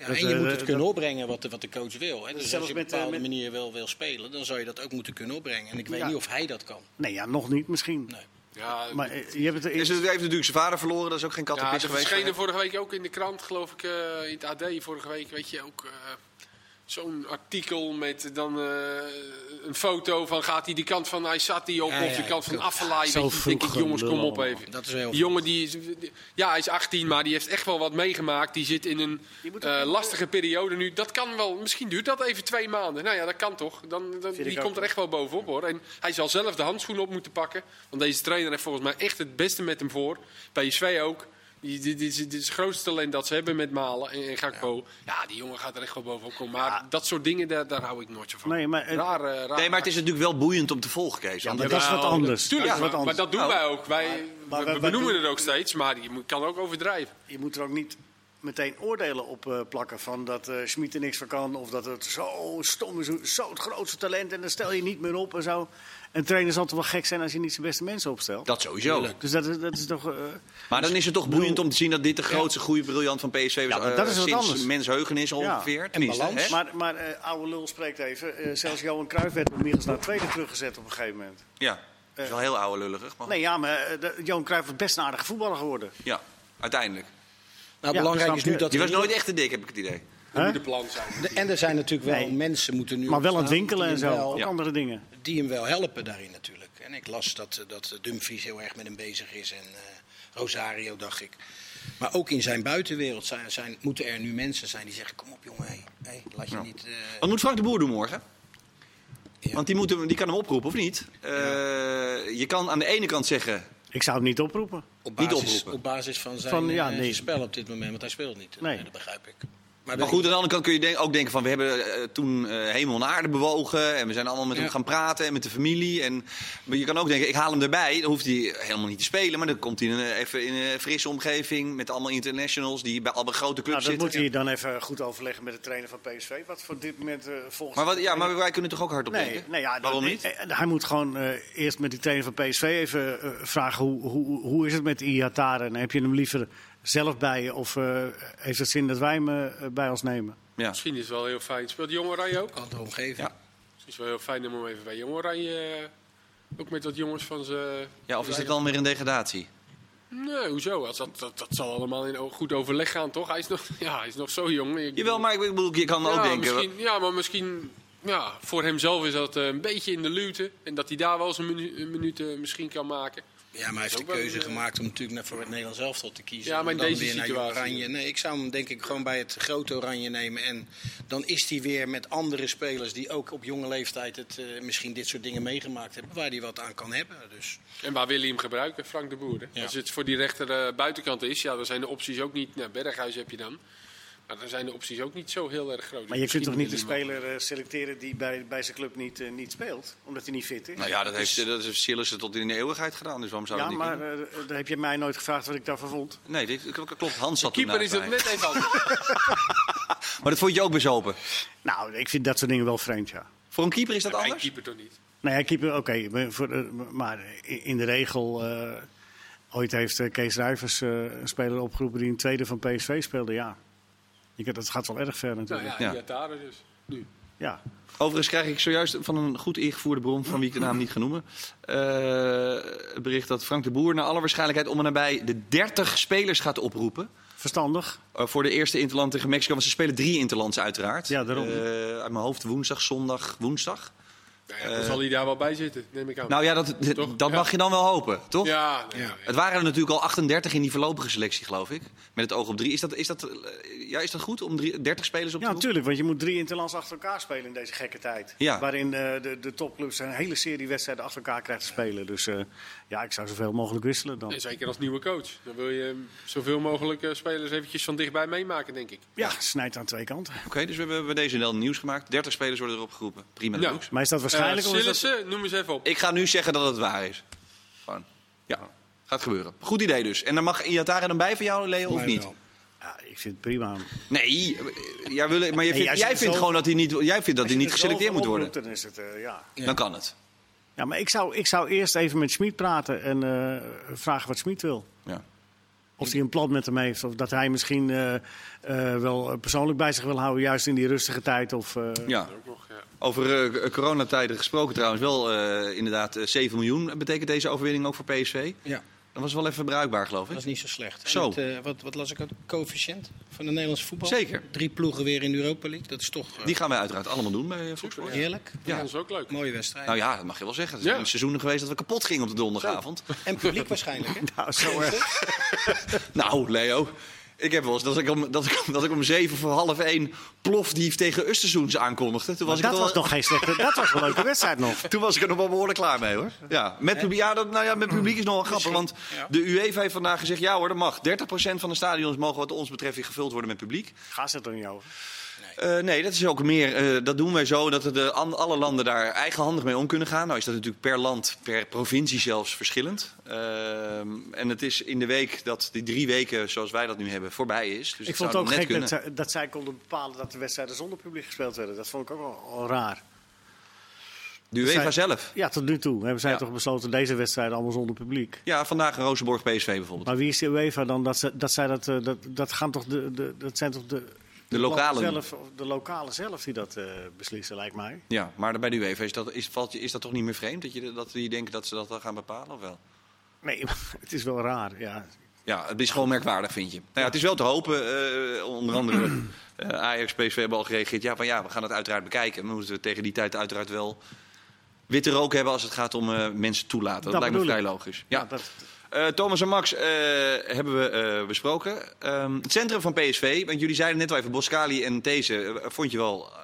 Speaker 3: Ja,
Speaker 2: Dat,
Speaker 3: en je
Speaker 2: eh,
Speaker 3: moet het
Speaker 2: dat-
Speaker 3: kunnen opbrengen wat de, wat de coach wil. Hè. Dus
Speaker 2: Zelfs
Speaker 3: als je op
Speaker 2: met,
Speaker 3: een
Speaker 2: eh,
Speaker 3: bepaalde
Speaker 2: met-
Speaker 3: manier wel wil spelen, dan zou je dat ook moeten kunnen opbrengen. En ik weet
Speaker 2: Ja.
Speaker 3: niet of hij dat kan.
Speaker 2: Nee, ja, nog niet misschien.
Speaker 3: Nee.
Speaker 4: Ja,
Speaker 2: Maar eh, je hebt het er
Speaker 1: Is
Speaker 2: eerst...
Speaker 1: Dus het heeft natuurlijk zijn vader verloren, dat is ook geen kat op
Speaker 4: ja,
Speaker 1: pis
Speaker 4: er
Speaker 1: geweest.
Speaker 4: verschenen vorige week ook in de krant, geloof ik, eh, in het AD vorige week, weet je, ook eh, zo'n artikel met dan eh, een foto van gaat hij de kant van Aysati op
Speaker 3: Ja,
Speaker 4: of
Speaker 3: ja,
Speaker 4: de
Speaker 3: ja,
Speaker 4: kant van
Speaker 3: klopt.
Speaker 4: Affalay,
Speaker 2: Zo
Speaker 4: weet je, denk ik,
Speaker 2: vroeg
Speaker 4: jongens, kom
Speaker 2: gelul
Speaker 4: op even.
Speaker 3: Dat is heel
Speaker 4: Die jongen, die, is- die- ja, hij is 18, maar die heeft echt wel wat meegemaakt. Die zit in een
Speaker 2: moet
Speaker 4: eh,
Speaker 2: ook-
Speaker 4: lastige periode nu. Dat kan wel, misschien duurt dat even twee maanden. Nou ja, dat kan toch. Dan, dan,
Speaker 2: Vind ik
Speaker 4: die
Speaker 2: ook.
Speaker 4: komt er echt wel bovenop hoor. En hij zal zelf de handschoen op moeten pakken. Want deze trainer heeft volgens mij echt het beste met hem voor. PSV ook. Die- Dit dit is dit is het grootste talent dat ze hebben met Malen en en Gakpo. Ja. die jongen gaat er echt wel bovenop komen. Maar dat soort dingen, daar, daar hou ik nooit zo van.
Speaker 2: Nee, maar het-
Speaker 4: raar, eh, raar.
Speaker 1: Nee, maar het is natuurlijk wel boeiend om te volgen, Kees.
Speaker 2: Ja,
Speaker 1: want
Speaker 2: maar dat is wat
Speaker 4: Jawel,
Speaker 2: anders.
Speaker 4: Oh, Tuurlijk,
Speaker 2: dat is wat
Speaker 4: maar, maar
Speaker 2: anders.
Speaker 4: dat doen
Speaker 1: Nou,
Speaker 4: wij ook. Wij,
Speaker 2: maar
Speaker 4: we-
Speaker 2: wij-
Speaker 4: we
Speaker 2: wij
Speaker 4: benoemen
Speaker 2: doen-
Speaker 4: het ook steeds, maar je moet- kan ook overdrijven.
Speaker 2: Je moet er ook niet meteen oordelen op eh, plakken van dat eh Schmid er niks van kan. Of dat het zo stom is, hoe- zo het grootste talent en dan stel je niet meer op en zo. Een trainer zal toch wel gek zijn als je niet zijn beste mensen opstelt?
Speaker 1: dat sowieso.
Speaker 2: Dus dat, is- dat is toch... eh,
Speaker 1: Maar dan is het toch boeiend om te zien dat dit de grootste goede briljant van PSV was.
Speaker 2: maar
Speaker 1: eh,
Speaker 2: dat is wat
Speaker 1: sinds
Speaker 2: anders.
Speaker 1: mensheugen is ongeveer. tenminste,
Speaker 3: balans.
Speaker 1: hè?
Speaker 2: Maar, maar eh, oude lul spreekt even. Eh, zelfs Johan Cruijff werd door Michels naar het tweede teruggezet op een gegeven moment.
Speaker 1: Ja, dat is wel heel oude lullig. Maar
Speaker 2: Eh. Nee, ja, maar eh, de- Johan Cruijff was best een aardige voetballer geworden.
Speaker 1: ja, uiteindelijk.
Speaker 3: Nou,
Speaker 2: Ja,
Speaker 3: belangrijk
Speaker 2: snap
Speaker 3: is nu
Speaker 2: je.
Speaker 3: dat...
Speaker 1: Die was
Speaker 3: er-
Speaker 1: nooit echt te dik, heb ik het idee.
Speaker 4: Dat moet de plan zijn.
Speaker 3: De- En er zijn natuurlijk wel
Speaker 2: Nee.
Speaker 3: mensen moeten nu...
Speaker 2: Maar wel aan het
Speaker 3: ontstaan
Speaker 2: winkelen en
Speaker 3: die
Speaker 2: zo.
Speaker 3: hem wel-
Speaker 2: Ook
Speaker 1: Ja.
Speaker 2: andere dingen.
Speaker 3: die hem wel helpen daarin natuurlijk. En ik las dat, eh, dat Dumfries heel erg met hem bezig is en eh, Rosario, dacht ik. Maar ook in zijn buitenwereld zijn, zijn, moeten er nu mensen zijn die zeggen... Kom op jongen, hé, hé, laat je niet... eh,
Speaker 1: Wat moet Frank de Boer doen morgen? Want die, moet hem, die kan hem oproepen, of niet? Eh, je kan aan de ene kant zeggen...
Speaker 2: Ik zou hem niet oproepen.
Speaker 3: Op
Speaker 1: Niet
Speaker 3: basis,
Speaker 1: oproepen.
Speaker 3: op basis van zijn
Speaker 2: Van, ja,
Speaker 3: eh,
Speaker 2: nee.
Speaker 3: spel op dit moment, want hij speelt niet. eh,
Speaker 2: Nee.
Speaker 3: dat begrijp ik.
Speaker 1: Maar goed, aan de andere kant kun je denk, ook denken van... we hebben eh, toen eh, hemel en aarde bewogen... en we zijn allemaal met
Speaker 3: Ja.
Speaker 1: hem gaan praten en met de familie. En, maar je kan ook denken, ik haal hem erbij. Dan hoeft hij helemaal niet te spelen. Maar dan komt hij in een, even in een frisse omgeving... met allemaal internationals die bij allemaal grote
Speaker 2: Nou,
Speaker 1: clubs
Speaker 2: dat moet
Speaker 1: zitten.
Speaker 2: hij dan even goed overleggen met de trainer van PSV. Wat voor dit moment eh, volgens
Speaker 1: Maar, wat, ja, maar wij kunnen toch ook hard op
Speaker 2: Nee,
Speaker 1: denken?
Speaker 2: nee ja,
Speaker 1: Waarom
Speaker 2: dat-
Speaker 1: niet?
Speaker 2: eh, Hij moet gewoon eh, eerst met die trainer van PSV even eh, vragen hoe, hoe, hoe is het met Iataren. Heb je hem liever zelf bij je of eh, heeft het zin dat wij hem eh, bij ons nemen?
Speaker 1: Ja.
Speaker 4: Misschien is het wel heel fijn. Speelt Jong Oranje ook?
Speaker 3: Kan het erom geven.
Speaker 1: Ja.
Speaker 4: Misschien is het wel heel fijn om hem even bij Jong Oranje... eh, ook met wat jongens van ze...
Speaker 1: ja, of is dit dan weer een degradatie?
Speaker 4: Nee, hoezo? Dat, dat, dat, dat zal allemaal in o- goed overleg gaan, toch? Hij is nog, ja, hij is nog zo jong. Ik-
Speaker 1: Jawel, maar ik bedoel, je kan
Speaker 4: ja,
Speaker 1: ook denken...
Speaker 4: Misschien, ja, maar misschien... Ja, voor hemzelf is dat eh, een beetje in de luwte. En dat hij daar wel eens een minu- een minuut eh, misschien kan maken.
Speaker 3: Ja, maar hij heeft de
Speaker 4: Ook wel
Speaker 3: keuze
Speaker 4: een, eh,
Speaker 3: gemaakt om natuurlijk net voor het Nederlands elftal te kiezen.
Speaker 4: Ja,
Speaker 3: En
Speaker 4: maar in
Speaker 3: dan
Speaker 4: deze
Speaker 3: weer naar Jong
Speaker 4: situatie.
Speaker 3: Oranje. Nee, ik zou hem denk ik gewoon bij het grote Oranje nemen. En dan is hij weer met andere spelers die ook op jonge leeftijd het, eh, misschien dit soort dingen meegemaakt hebben. Waar hij wat aan kan hebben. Dus
Speaker 4: En waar wil hij hem gebruiken? Frank de Boer. hè?
Speaker 3: Ja.
Speaker 4: Als het voor die rechter eh, buitenkant is, ja, dan zijn de opties ook niet... Nou, Berghuis heb je dan. Maar dan zijn de opties ook niet zo heel erg groot. Dus
Speaker 2: Maar je kunt
Speaker 4: misschien
Speaker 2: toch niet een
Speaker 4: wil hij hem
Speaker 2: speler eh, selecteren die bij, bij zijn club niet, eh, niet speelt, omdat hij niet fit is?
Speaker 1: Nou ja, dat heeft, dat heeft Sillissen tot in de eeuwigheid gedaan. Dus waarom zou
Speaker 2: ja,
Speaker 1: dat niet
Speaker 2: maar
Speaker 1: kunnen?
Speaker 2: eh, daar heb je mij nooit gevraagd wat ik daarvan vond.
Speaker 1: Nee, dit, k- k- klopt. Hans zat
Speaker 4: wel. Keeper
Speaker 1: toen
Speaker 4: is het
Speaker 1: daarbij.
Speaker 4: net even anders.
Speaker 1: Maar dat vond je ook bezopen.
Speaker 2: Nou, ik vind dat soort dingen wel vreemd, ja.
Speaker 1: Voor een keeper is dat
Speaker 4: Hij
Speaker 1: anders?
Speaker 4: keeper toch niet?
Speaker 2: Nou ja, keeper, oké. maar voor, eh, maar in in de regel, eh, ooit heeft eh, Kees Rijvers eh, een speler opgeroepen die een tweede van PSV speelde. Ja, Ik, dat gaat wel erg ver
Speaker 4: Nou
Speaker 2: natuurlijk.
Speaker 4: ja,
Speaker 1: Ja.
Speaker 4: ja. Iataren dus. Nu.
Speaker 2: ja.
Speaker 1: Overigens krijg ik zojuist van een goed ingevoerde bron, van wie ik de naam niet ga noemen, eh, het bericht dat Frank de Boer naar alle waarschijnlijkheid om en nabij de 30 spelers gaat oproepen.
Speaker 2: Verstandig.
Speaker 1: eh, voor de eerste Interland tegen Mexico, want ze spelen drie Interlands uiteraard.
Speaker 2: Ja, daarom.
Speaker 1: Eh, uit mijn hoofd woensdag, zondag, woensdag.
Speaker 4: Nou ja, dan zal hij daar wel bij zitten, neem ik aan.
Speaker 1: Eh, Nou ja, dat, dat
Speaker 4: Toch? Ja.
Speaker 1: mag je dan wel hopen, toch?
Speaker 4: ja, nee, nee.
Speaker 1: Het waren er natuurlijk al 38 in die voorlopige selectie, geloof ik. Met het oog op drie. Is dat, is dat, eh, ja, is dat goed om drie, 30 spelers op te
Speaker 2: Ja,
Speaker 1: roepen?
Speaker 2: natuurlijk, want je moet drie interlands achter elkaar spelen in deze gekke tijd.
Speaker 1: Ja.
Speaker 2: Waarin eh, de, de topclubs een hele serie wedstrijden achter elkaar krijgt te spelen. Dus eh, ja, ik zou zoveel mogelijk wisselen dan.
Speaker 4: En zeker als nieuwe coach. Dan wil je eh, zoveel mogelijk eh, spelers eventjes van dichtbij meemaken, denk ik.
Speaker 2: Ja, snijdt aan twee kanten.
Speaker 1: Oké, dus we hebben bij deze wel nieuws gemaakt. 30 spelers worden erop geroepen. Prima. Lux.
Speaker 4: Ja.
Speaker 2: Maar is dat waarschijnlijk?
Speaker 4: Eh,
Speaker 2: of is dat-
Speaker 4: Sillissen, noem eens even op.
Speaker 1: Ik ga nu zeggen dat het waar is. Gewoon. Ja, gaat gebeuren. Goed idee dus. En dan mag Iatara dan bij van jou, Leo, of
Speaker 3: Mij
Speaker 1: niet?
Speaker 3: wel.
Speaker 2: Ja, ik vind het prima.
Speaker 1: Nee, eh, jij, wil, maar jij
Speaker 2: Nee,
Speaker 1: vindt,
Speaker 2: als je
Speaker 1: jij
Speaker 2: het
Speaker 1: vindt
Speaker 2: zo-
Speaker 1: gewoon dat hij niet, jij vindt dat hij
Speaker 2: Als je
Speaker 1: niet
Speaker 2: er
Speaker 1: geselecteerd
Speaker 2: zoveel
Speaker 1: moet worden.
Speaker 2: oproept, Dan is het, eh, ja.
Speaker 1: Dan kan het.
Speaker 2: Ja, maar ik zou, ik zou eerst even met Schmid praten en eh, vragen wat Schmid wil.
Speaker 1: Ja.
Speaker 2: Of hij een plan met hem heeft. Of dat hij misschien eh, eh, wel persoonlijk bij zich wil houden. Juist in die rustige tijd. Of, eh,
Speaker 1: ja.
Speaker 4: Ook nog, ja.
Speaker 1: Over eh, coronatijden gesproken trouwens. Wel eh, inderdaad eh, 7 miljoen betekent deze overwinning ook voor PSV.
Speaker 3: ja,
Speaker 1: Dat was wel even bruikbaar, geloof
Speaker 3: dat
Speaker 1: ik.
Speaker 3: is niet zo slecht. En
Speaker 1: Zo.
Speaker 3: het, eh, wat, wat las ik ook? Coëfficiënt van de Nederlandse voetbal.
Speaker 1: Zeker.
Speaker 3: Drie ploegen weer in de Europa League. Dat is toch eh,
Speaker 1: Die gaan wij uiteraard allemaal doen bij eh, Fox Sports.
Speaker 3: heerlijk.
Speaker 1: Ja.
Speaker 4: Dat is ook leuk.
Speaker 3: Mooie wedstrijd.
Speaker 1: Nou ja, dat mag je wel zeggen. Het zijn
Speaker 4: Ja.
Speaker 1: seizoenen geweest dat we kapot gingen op de donderdagavond.
Speaker 3: En publiek waarschijnlijk. Hè?
Speaker 2: nou, zo erg.
Speaker 1: Nou, Leo. Ik heb wel eens dat ik om, dat ik, dat ik om zeven voor half één plofdief tegen Österzoens aankondigde. Toen was, ik
Speaker 2: dat
Speaker 1: er
Speaker 2: was
Speaker 1: wel-
Speaker 2: nog geen slechte. Dat was een leuke wedstrijd nog.
Speaker 1: toen was ik er nog wel behoorlijk klaar mee hoor. Ja, met, publiek, ja, dat, nou ja, met publiek is nog wel grappig. Want de UEFA heeft vandaag gezegd: ja hoor, dat mag. 30% van de stadions mogen, wat ons betreft, weer gevuld worden met publiek.
Speaker 2: Ga ze het er niet over.
Speaker 1: Eh, nee, dat is ook meer. eh, dat doen wij zo dat de, an- alle landen daar eigenhandig mee om kunnen gaan. Nou is dat natuurlijk per land, per provincie zelfs verschillend. Ehm, en het is in de week dat die drie weken, zoals wij dat nu hebben, voorbij is. Dus het
Speaker 2: ik vond
Speaker 1: zou
Speaker 2: het ook
Speaker 1: nog net
Speaker 2: gek
Speaker 1: kunnen.
Speaker 2: dat, zij- dat zij konden bepalen dat de wedstrijden zonder publiek gespeeld werden. Dat vond ik ook wel, wel raar.
Speaker 1: De UEFA
Speaker 2: zij-
Speaker 1: zelf.
Speaker 2: Ja, tot nu toe hebben zij
Speaker 1: Ja.
Speaker 2: toch besloten deze wedstrijden allemaal zonder publiek.
Speaker 1: Ja, vandaag een Rozenborg PSV bijvoorbeeld.
Speaker 2: Maar wie is de UEFA dan? Dat, ze, dat, zij dat, eh, dat, dat, gaan toch de, de, dat zijn toch de, de,
Speaker 1: lokalen.
Speaker 2: landen zelf, of de lokalen zelf die dat eh, beslissen, lijkt mij.
Speaker 1: Ja, maar bij de UEFA is dat, is, valt, je- is dat toch niet meer vreemd? Dat, je, dat die denken dat ze dat dan gaan bepalen of wel?
Speaker 2: Nee, maar het is wel raar. Ja.
Speaker 1: Ja, het is gewoon merkwaardig, vind je. Nou ja, het is wel te hopen. eh, onder andere eh, Ajax, PSV hebben al gereageerd. Ja, van ja, we gaan het uiteraard bekijken. We moeten tegen die tijd uiteraard wel witte rook hebben als het gaat om eh, mensen toelaten. Dat,
Speaker 2: Dat
Speaker 1: lijkt me
Speaker 2: bedoel
Speaker 1: vrij
Speaker 2: ik.
Speaker 1: logisch. Ja.
Speaker 2: dat,
Speaker 1: Eh, Thomas en Max eh, hebben we eh, besproken. Ehm, het centrum van PSV, want jullie zeiden net al even, Boscali en These, eh, vond je wel eh,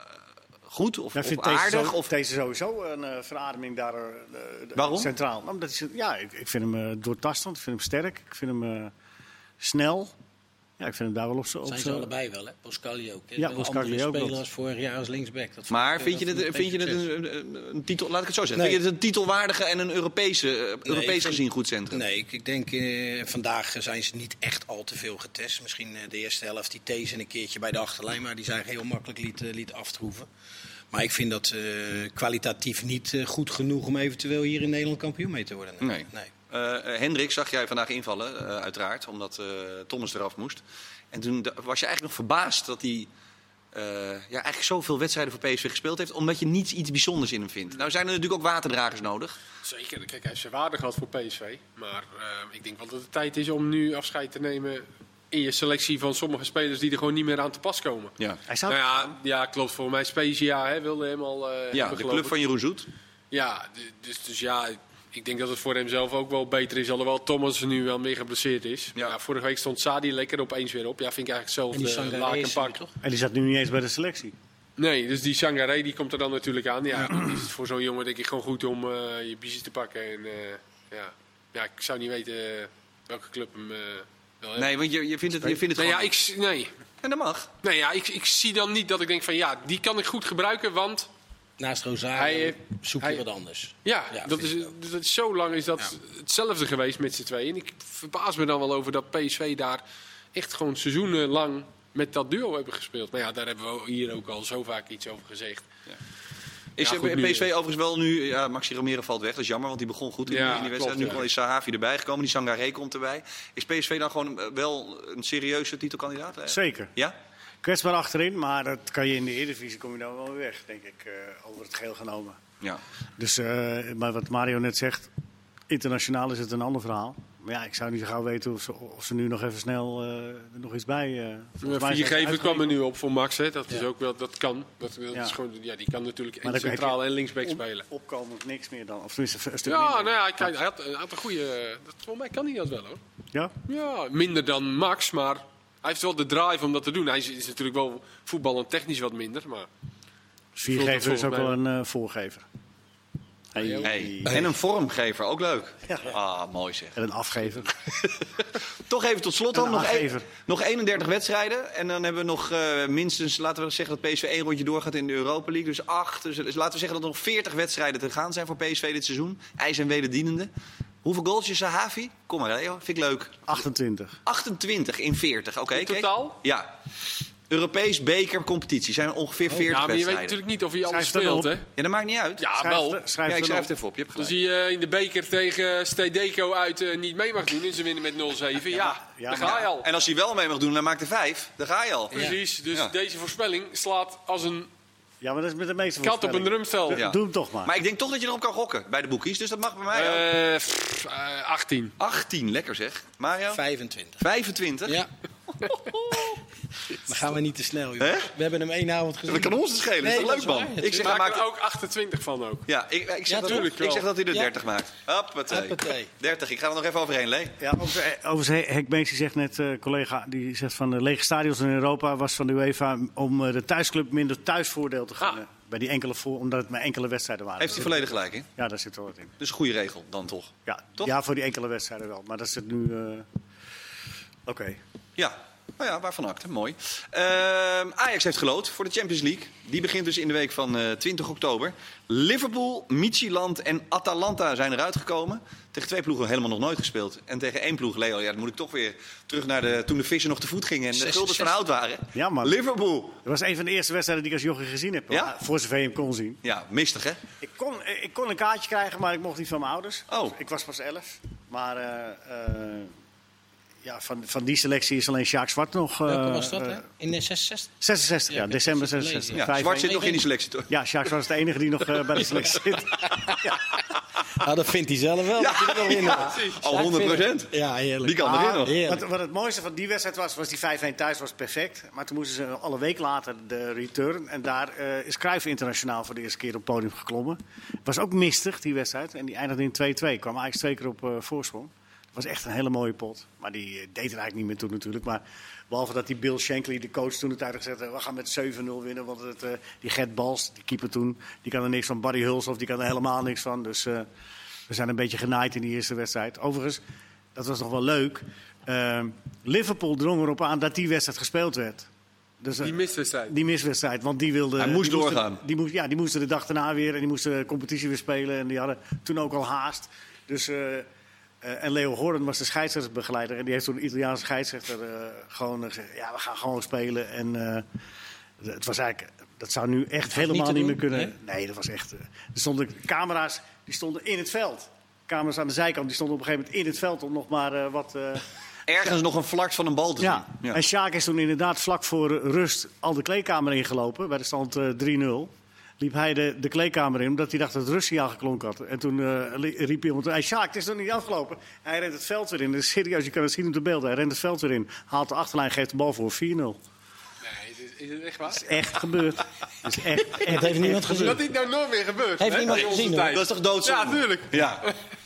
Speaker 1: goed of,
Speaker 2: Daar
Speaker 1: of
Speaker 2: vindt deze,
Speaker 1: aardig?
Speaker 2: zo-
Speaker 1: Of,
Speaker 2: deze sowieso een eh, verademing daar eh, eh,
Speaker 1: Waarom?
Speaker 2: centraal. Nou, Omdat hij, ja, ik, ik vind hem eh, doortastend, ik vind hem sterk, ik vind hem eh, snel. Ja, ik vind hem daar wel op zo. op
Speaker 3: Zijn
Speaker 1: eh,
Speaker 3: ze
Speaker 2: zo-
Speaker 3: allebei wel, hè? Pascali ook. Hè?
Speaker 2: Ja,
Speaker 3: Wel
Speaker 2: Boskakli
Speaker 3: andere
Speaker 2: ook
Speaker 3: speler
Speaker 2: nog.
Speaker 3: als vorig jaar als linksback. Dat
Speaker 1: maar
Speaker 3: eh,
Speaker 1: vind je
Speaker 3: dat
Speaker 1: het,
Speaker 3: geen
Speaker 1: vind je het
Speaker 3: succes.
Speaker 1: een, een- een titel, laat ik het zo zeggen,
Speaker 3: Nee.
Speaker 1: vind je het een titelwaardige en een Europese, eh, Europees
Speaker 3: ik vind-
Speaker 1: gezien goed centrum?
Speaker 3: Nee, ik, ik denk eh, vandaag zijn ze niet echt al te veel getest. Misschien eh, de eerste helft die Thees een keertje bij de achterlijn, maar die zijn heel makkelijk liet, eh, liet aftroeven. Maar ik vind dat eh, kwalitatief niet eh, goed genoeg om eventueel hier in Nederland kampioen mee te worden.
Speaker 1: Nee. Eh, eh, Hendrik zag jij vandaag invallen, eh, uiteraard, omdat eh, Thomas eraf moest. En toen da- was je eigenlijk nog verbaasd dat hij eh, ja, eigenlijk zoveel wedstrijden voor PSV gespeeld heeft, omdat je niets iets bijzonders in hem vindt. Nou zijn er natuurlijk ook waterdragers nodig.
Speaker 4: Zeker, kijk, hij heeft zijn waarde gehad voor PSV. Maar eh, ik denk wel dat het tijd is om nu afscheid te nemen in je selectie van sommige spelers die er gewoon niet meer aan te pas komen.
Speaker 1: Ja,
Speaker 2: Hij zou
Speaker 4: Nou ja, ja, klopt. Voor mij Spezia hè, wilde hem al. eh,
Speaker 1: ja
Speaker 4: hebben,
Speaker 1: de
Speaker 4: geloof
Speaker 1: club
Speaker 4: ik.
Speaker 1: van Jeroen Zoet.
Speaker 4: Ja, d- dus, dus ja, ik denk dat het voor hemzelf ook wel beter is. Alhoewel Thomas nu wel meer geblesseerd is.
Speaker 1: Ja.
Speaker 4: Ja. vorige week stond Sadi lekker opeens weer op. Ja, vind ik eigenlijk
Speaker 3: En die
Speaker 4: zelf eh, de
Speaker 3: Sangaré
Speaker 4: laak
Speaker 3: is
Speaker 4: en
Speaker 3: er
Speaker 4: pak.
Speaker 3: weer, toch?
Speaker 2: En die zat nu niet eens bij de selectie.
Speaker 4: Nee, dus die Sangaré die komt er dan natuurlijk aan. Ja, dan is het voor zo'n jongen denk ik gewoon goed om eh, je biezen te pakken. En, eh, ja. ja, ik zou niet weten eh, welke club hem eh, wil hebben.
Speaker 1: Nee, want je, je vindt het, je vindt het
Speaker 4: Nee, ja,
Speaker 1: gewoon...
Speaker 4: ik, s- nee.
Speaker 1: En dat mag.
Speaker 4: Nee, ja, ik, ik zie dan niet dat ik denk van ja, die kan ik goed gebruiken, want
Speaker 3: Naast
Speaker 4: Hij
Speaker 3: Rosario
Speaker 4: heeft-
Speaker 3: zoek je
Speaker 4: hij-
Speaker 3: wat anders.
Speaker 4: Ja,
Speaker 3: Ja,
Speaker 4: dat
Speaker 3: vind
Speaker 4: is,
Speaker 3: ik
Speaker 4: dat is- zo lang is dat hetzelfde geweest met z'n tweeën. En ik verbaas me dan wel over dat PSV daar echt gewoon seizoenenlang met dat duo hebben gespeeld. Nou ja, daar hebben we hier ook al zo vaak iets over gezegd.
Speaker 1: Is
Speaker 4: Ja,
Speaker 1: eh,
Speaker 4: goed, nu-
Speaker 1: PSV overigens wel nu... Ja, Maxi Romero valt weg, dat is jammer, want die begon goed in,
Speaker 4: Ja,
Speaker 1: in die wedstrijd.
Speaker 4: klopt,
Speaker 1: nu
Speaker 4: ja.
Speaker 1: kwam- is Sahavi erbij gekomen, die Sangaré komt erbij. Is PSV dan gewoon eh, wel een serieuze titelkandidaat? eh?
Speaker 2: Zeker.
Speaker 1: Ja?
Speaker 2: Kwetsbaar achterin, maar dat kan je in de Eredivisie kom je dan wel weer weg, denk ik, eh, over het geheel genomen.
Speaker 1: Ja.
Speaker 2: Dus, eh, maar wat Mario net zegt, internationaal is het een ander verhaal. Maar ja, ik zou niet zo gauw weten of ze, of ze nu nog even snel eh, er nog iets bij... eh volgens mij zijn ze
Speaker 4: Viergever kwam er
Speaker 2: uitgerekend.
Speaker 4: nu op voor Max, hè. dat is
Speaker 3: Ja.
Speaker 4: ook wel, dat kan. Dat, dat
Speaker 2: Ja.
Speaker 4: is gewoon, ja, die kan natuurlijk
Speaker 2: Maar
Speaker 4: en
Speaker 2: dan heb
Speaker 4: centraal
Speaker 2: je
Speaker 4: en linksback
Speaker 2: op-
Speaker 4: spelen.
Speaker 2: Opkomend niks meer dan, of tenminste een stuk
Speaker 4: Ja,
Speaker 2: minder.
Speaker 4: nou ja, hij, hij had een aantal goede. dat- Volgens mij kan hij dat wel hoor.
Speaker 2: Ja?
Speaker 4: Ja, minder dan Max, maar hij heeft wel de drive om dat te doen. Hij is, is natuurlijk wel voetbal en technisch wat minder, maar.
Speaker 2: Viergever is ook
Speaker 4: volgens mij
Speaker 2: wel een eh, voorgever. Hey.
Speaker 1: Hey. En een vormgever, ook leuk. Ah, mooi zeg.
Speaker 2: En een afgever.
Speaker 1: Toch even tot slot dan.
Speaker 2: Een
Speaker 1: Nog, een-
Speaker 2: aangever.
Speaker 1: nog 31 wedstrijden. En dan hebben we nog eh, minstens, laten we zeggen dat PSV één rondje doorgaat in de Europa League. Dus acht. Dus, dus laten we zeggen dat er nog 40 wedstrijden te gaan zijn voor PSV dit seizoen. IJs en wederdienende. Hoeveel goals is Sahavi? Kom maar, Leo. Vind ik leuk.
Speaker 2: 28.
Speaker 1: 28 in 40. Oké,
Speaker 4: In
Speaker 1: kijk.
Speaker 4: totaal?
Speaker 1: Ja. Europees beker competitie zijn ongeveer 40
Speaker 4: Ja, Oh, nou, maar je weet
Speaker 1: wedstrijden.
Speaker 4: natuurlijk niet of hij alles
Speaker 2: Schrijf dat
Speaker 4: speelt,
Speaker 2: op.
Speaker 4: hè?
Speaker 1: Ja, dat maakt niet uit.
Speaker 4: Ja,
Speaker 2: Schrijf
Speaker 4: wel.
Speaker 2: het- schrijf
Speaker 1: ja, ik
Speaker 2: het
Speaker 1: schrijf
Speaker 2: op.
Speaker 1: het even op. Je hebt
Speaker 4: Als
Speaker 1: gelijk.
Speaker 4: hij eh, in de beker tegen Stedeco uit eh, niet mee mag doen en ze winnen met 0-7, ja,
Speaker 2: ja,
Speaker 4: daar ga je al.
Speaker 1: En als hij wel mee mag doen, dan maakt hij vijf. Dan ga je al.
Speaker 4: Precies, dus
Speaker 1: Ja.
Speaker 4: deze voorspelling slaat als een
Speaker 2: Ja, maar dat is met de meeste
Speaker 4: kat op een
Speaker 2: voorspellingen.
Speaker 4: drumstel.
Speaker 1: Ja.
Speaker 2: Doe hem toch maar.
Speaker 1: Maar ik denk toch dat je erop kan gokken bij de boekies. Dus dat mag bij mij ook.
Speaker 4: Eh, pff, eh, 18.
Speaker 1: 18, lekker zeg. Mario?
Speaker 3: 25.
Speaker 1: 25?
Speaker 3: Ja. Maar gaan we niet te snel, joh.
Speaker 1: Hè?
Speaker 3: We hebben hem één avond gezien.
Speaker 1: Dat kan ons het schelen.
Speaker 3: Nee,
Speaker 1: is dat
Speaker 3: dat
Speaker 1: leuk,
Speaker 3: is waar.
Speaker 1: man? Ik zeg, hij
Speaker 4: maak
Speaker 1: maakt...
Speaker 4: er ook 28 van ook.
Speaker 1: Ja, ik, ik, zeg
Speaker 3: Ja,
Speaker 1: dat,
Speaker 3: tuurlijk
Speaker 1: ik
Speaker 4: wel.
Speaker 1: zeg dat hij er
Speaker 3: Ja.
Speaker 1: 30 maakt. Hoppatee.
Speaker 3: Hoppatee.
Speaker 1: 30. Ik ga er nog even overheen, Lee.
Speaker 2: Ja, overigens, eh, overigens, Henk Beens, die zegt net, eh, collega, die zegt van de lege stadions in Europa was van de UEFA om eh, de thuisclub minder thuisvoordeel te gunnen. Bij die enkele voor, omdat het maar enkele wedstrijden waren.
Speaker 1: Ah. Heeft hij volledig gelijk in.
Speaker 2: Ja, daar zit wel wat in.
Speaker 1: Dus een goede regel dan toch?
Speaker 2: Ja,
Speaker 1: Toch?
Speaker 2: ja, voor die enkele wedstrijden wel. Maar dat zit nu. eh, Oké.
Speaker 1: Ja. Nou ja, waarvan acte. Mooi. Ehm, Ajax heeft gelood voor de Champions League. Die begint dus in de week van eh, 20 oktober. Liverpool, Michieland en Atalanta zijn eruit gekomen. Tegen twee ploegen helemaal nog nooit gespeeld. En tegen één ploeg, Leo, ja, dan moet ik toch weer terug naar de, toen de vissen nog te voet gingen en de
Speaker 3: 66.
Speaker 1: guldens van hout waren.
Speaker 2: Ja, man.
Speaker 1: Liverpool.
Speaker 2: Dat was een van de eerste wedstrijden die ik als jochie gezien heb. hoor. Ah,
Speaker 1: Ja?
Speaker 2: Voor zover je hem kon zien.
Speaker 1: Ja, mistig hè?
Speaker 2: Ik kon, eh, ik kon een kaartje krijgen, maar ik mocht niet van mijn ouders.
Speaker 1: Oh.
Speaker 2: Ik was pas 11. Maar eh, eh, ja, van, van die selectie is alleen Sjaak Zwart nog. eh,
Speaker 3: Welke was dat,
Speaker 2: eh,
Speaker 3: hè? In de 66?
Speaker 2: 66, ja,
Speaker 3: Ja, ik heb
Speaker 2: december
Speaker 3: het gelezen,
Speaker 2: 66.
Speaker 1: Ja,
Speaker 2: Vijf-
Speaker 1: Zwart zit nog in die selectie toch?
Speaker 2: Ja, Sjaak was de enige die nog eh, bij de selectie zit.
Speaker 3: Ah, dat vindt hij zelf wel. dat hij er nog in had.
Speaker 1: al 100 procent.
Speaker 3: Ja, heerlijk.
Speaker 1: Die kan erin nog.
Speaker 3: Heerlijk.
Speaker 2: Wat, wat het mooiste van die wedstrijd was, was die 5-1 thuis was perfect. Maar toen moesten ze alle week later de return. En daar eh, is Cruijff internationaal voor de eerste keer op het podium geklommen. Was ook mistig, die wedstrijd. En die eindigde in 2-2. Kwam eigenlijk twee keer op eh, voorsprong. was echt een hele mooie pot. Maar die eh, deed er eigenlijk niet meer toe natuurlijk. Maar behalve dat die Bill Shankly, de coach, toen het tijd gezegd heeft... we gaan met 7-0 winnen, want het, eh, die Gert Bals, die keeper toen... die kan er niks van. Barry Hulshoff, die kan er helemaal niks van. Dus eh, we zijn een beetje genaaid in die eerste wedstrijd. Overigens, dat was nog wel leuk. eh, Liverpool drong erop aan dat die wedstrijd gespeeld werd. Dus, eh,
Speaker 4: Die miswedstrijd.
Speaker 2: die miswedstrijd, want die wilde...
Speaker 1: Hij moest
Speaker 2: die moesten-
Speaker 1: doorgaan.
Speaker 2: die, moest, ja, die moesten de dag daarna weer en die moesten de competitie weer spelen. En die hadden toen ook al haast. Dus, eh, eh, en Leo Horn was de scheidsrechtsbegeleider. En die heeft toen de Italiaanse scheidsrechter eh, gewoon eh, gezegd... Ja, we gaan gewoon spelen. En eh, het was eigenlijk... Dat zou nu echt helemaal
Speaker 3: te
Speaker 2: niet, meer
Speaker 3: doen,
Speaker 2: kunnen. Nee, dat was echt... eh, er stonden camera's, die stonden in het veld. Camera's aan de zijkant, die stonden op een gegeven moment in het veld... om nog maar eh, wat... eh,
Speaker 1: Ergens nog een vlak van een bal te zien.
Speaker 2: ja. en Sjaak is toen inderdaad vlak voor eh, rust al de kleedkamer ingelopen. Bij de stand eh, 3-0 liep hij de, de kleedkamer in omdat hij dacht dat Russie aangeklonken had. En toen eh, li- riep iemand, hey, Sjaak, het is nog niet afgelopen. Hij rent het veld weer in. Dat is serieus, je kan het zien op de beelden. Hij rent het veld weer in, haalt de achterlijn, geeft de bal voor 4-0.
Speaker 4: Nee, dit- is het echt waar?
Speaker 2: Echt gebeurd. Dat is echt, echt,
Speaker 3: Dat heeft niemand gezien.
Speaker 4: Dat dit nou nooit meer gebeurt.
Speaker 3: Heeft
Speaker 4: hè,
Speaker 3: niemand
Speaker 4: in onze
Speaker 3: gezien, hoor.
Speaker 4: tijd.
Speaker 1: Dat is toch doodzonde?
Speaker 4: Ja, tuurlijk.
Speaker 1: Ja.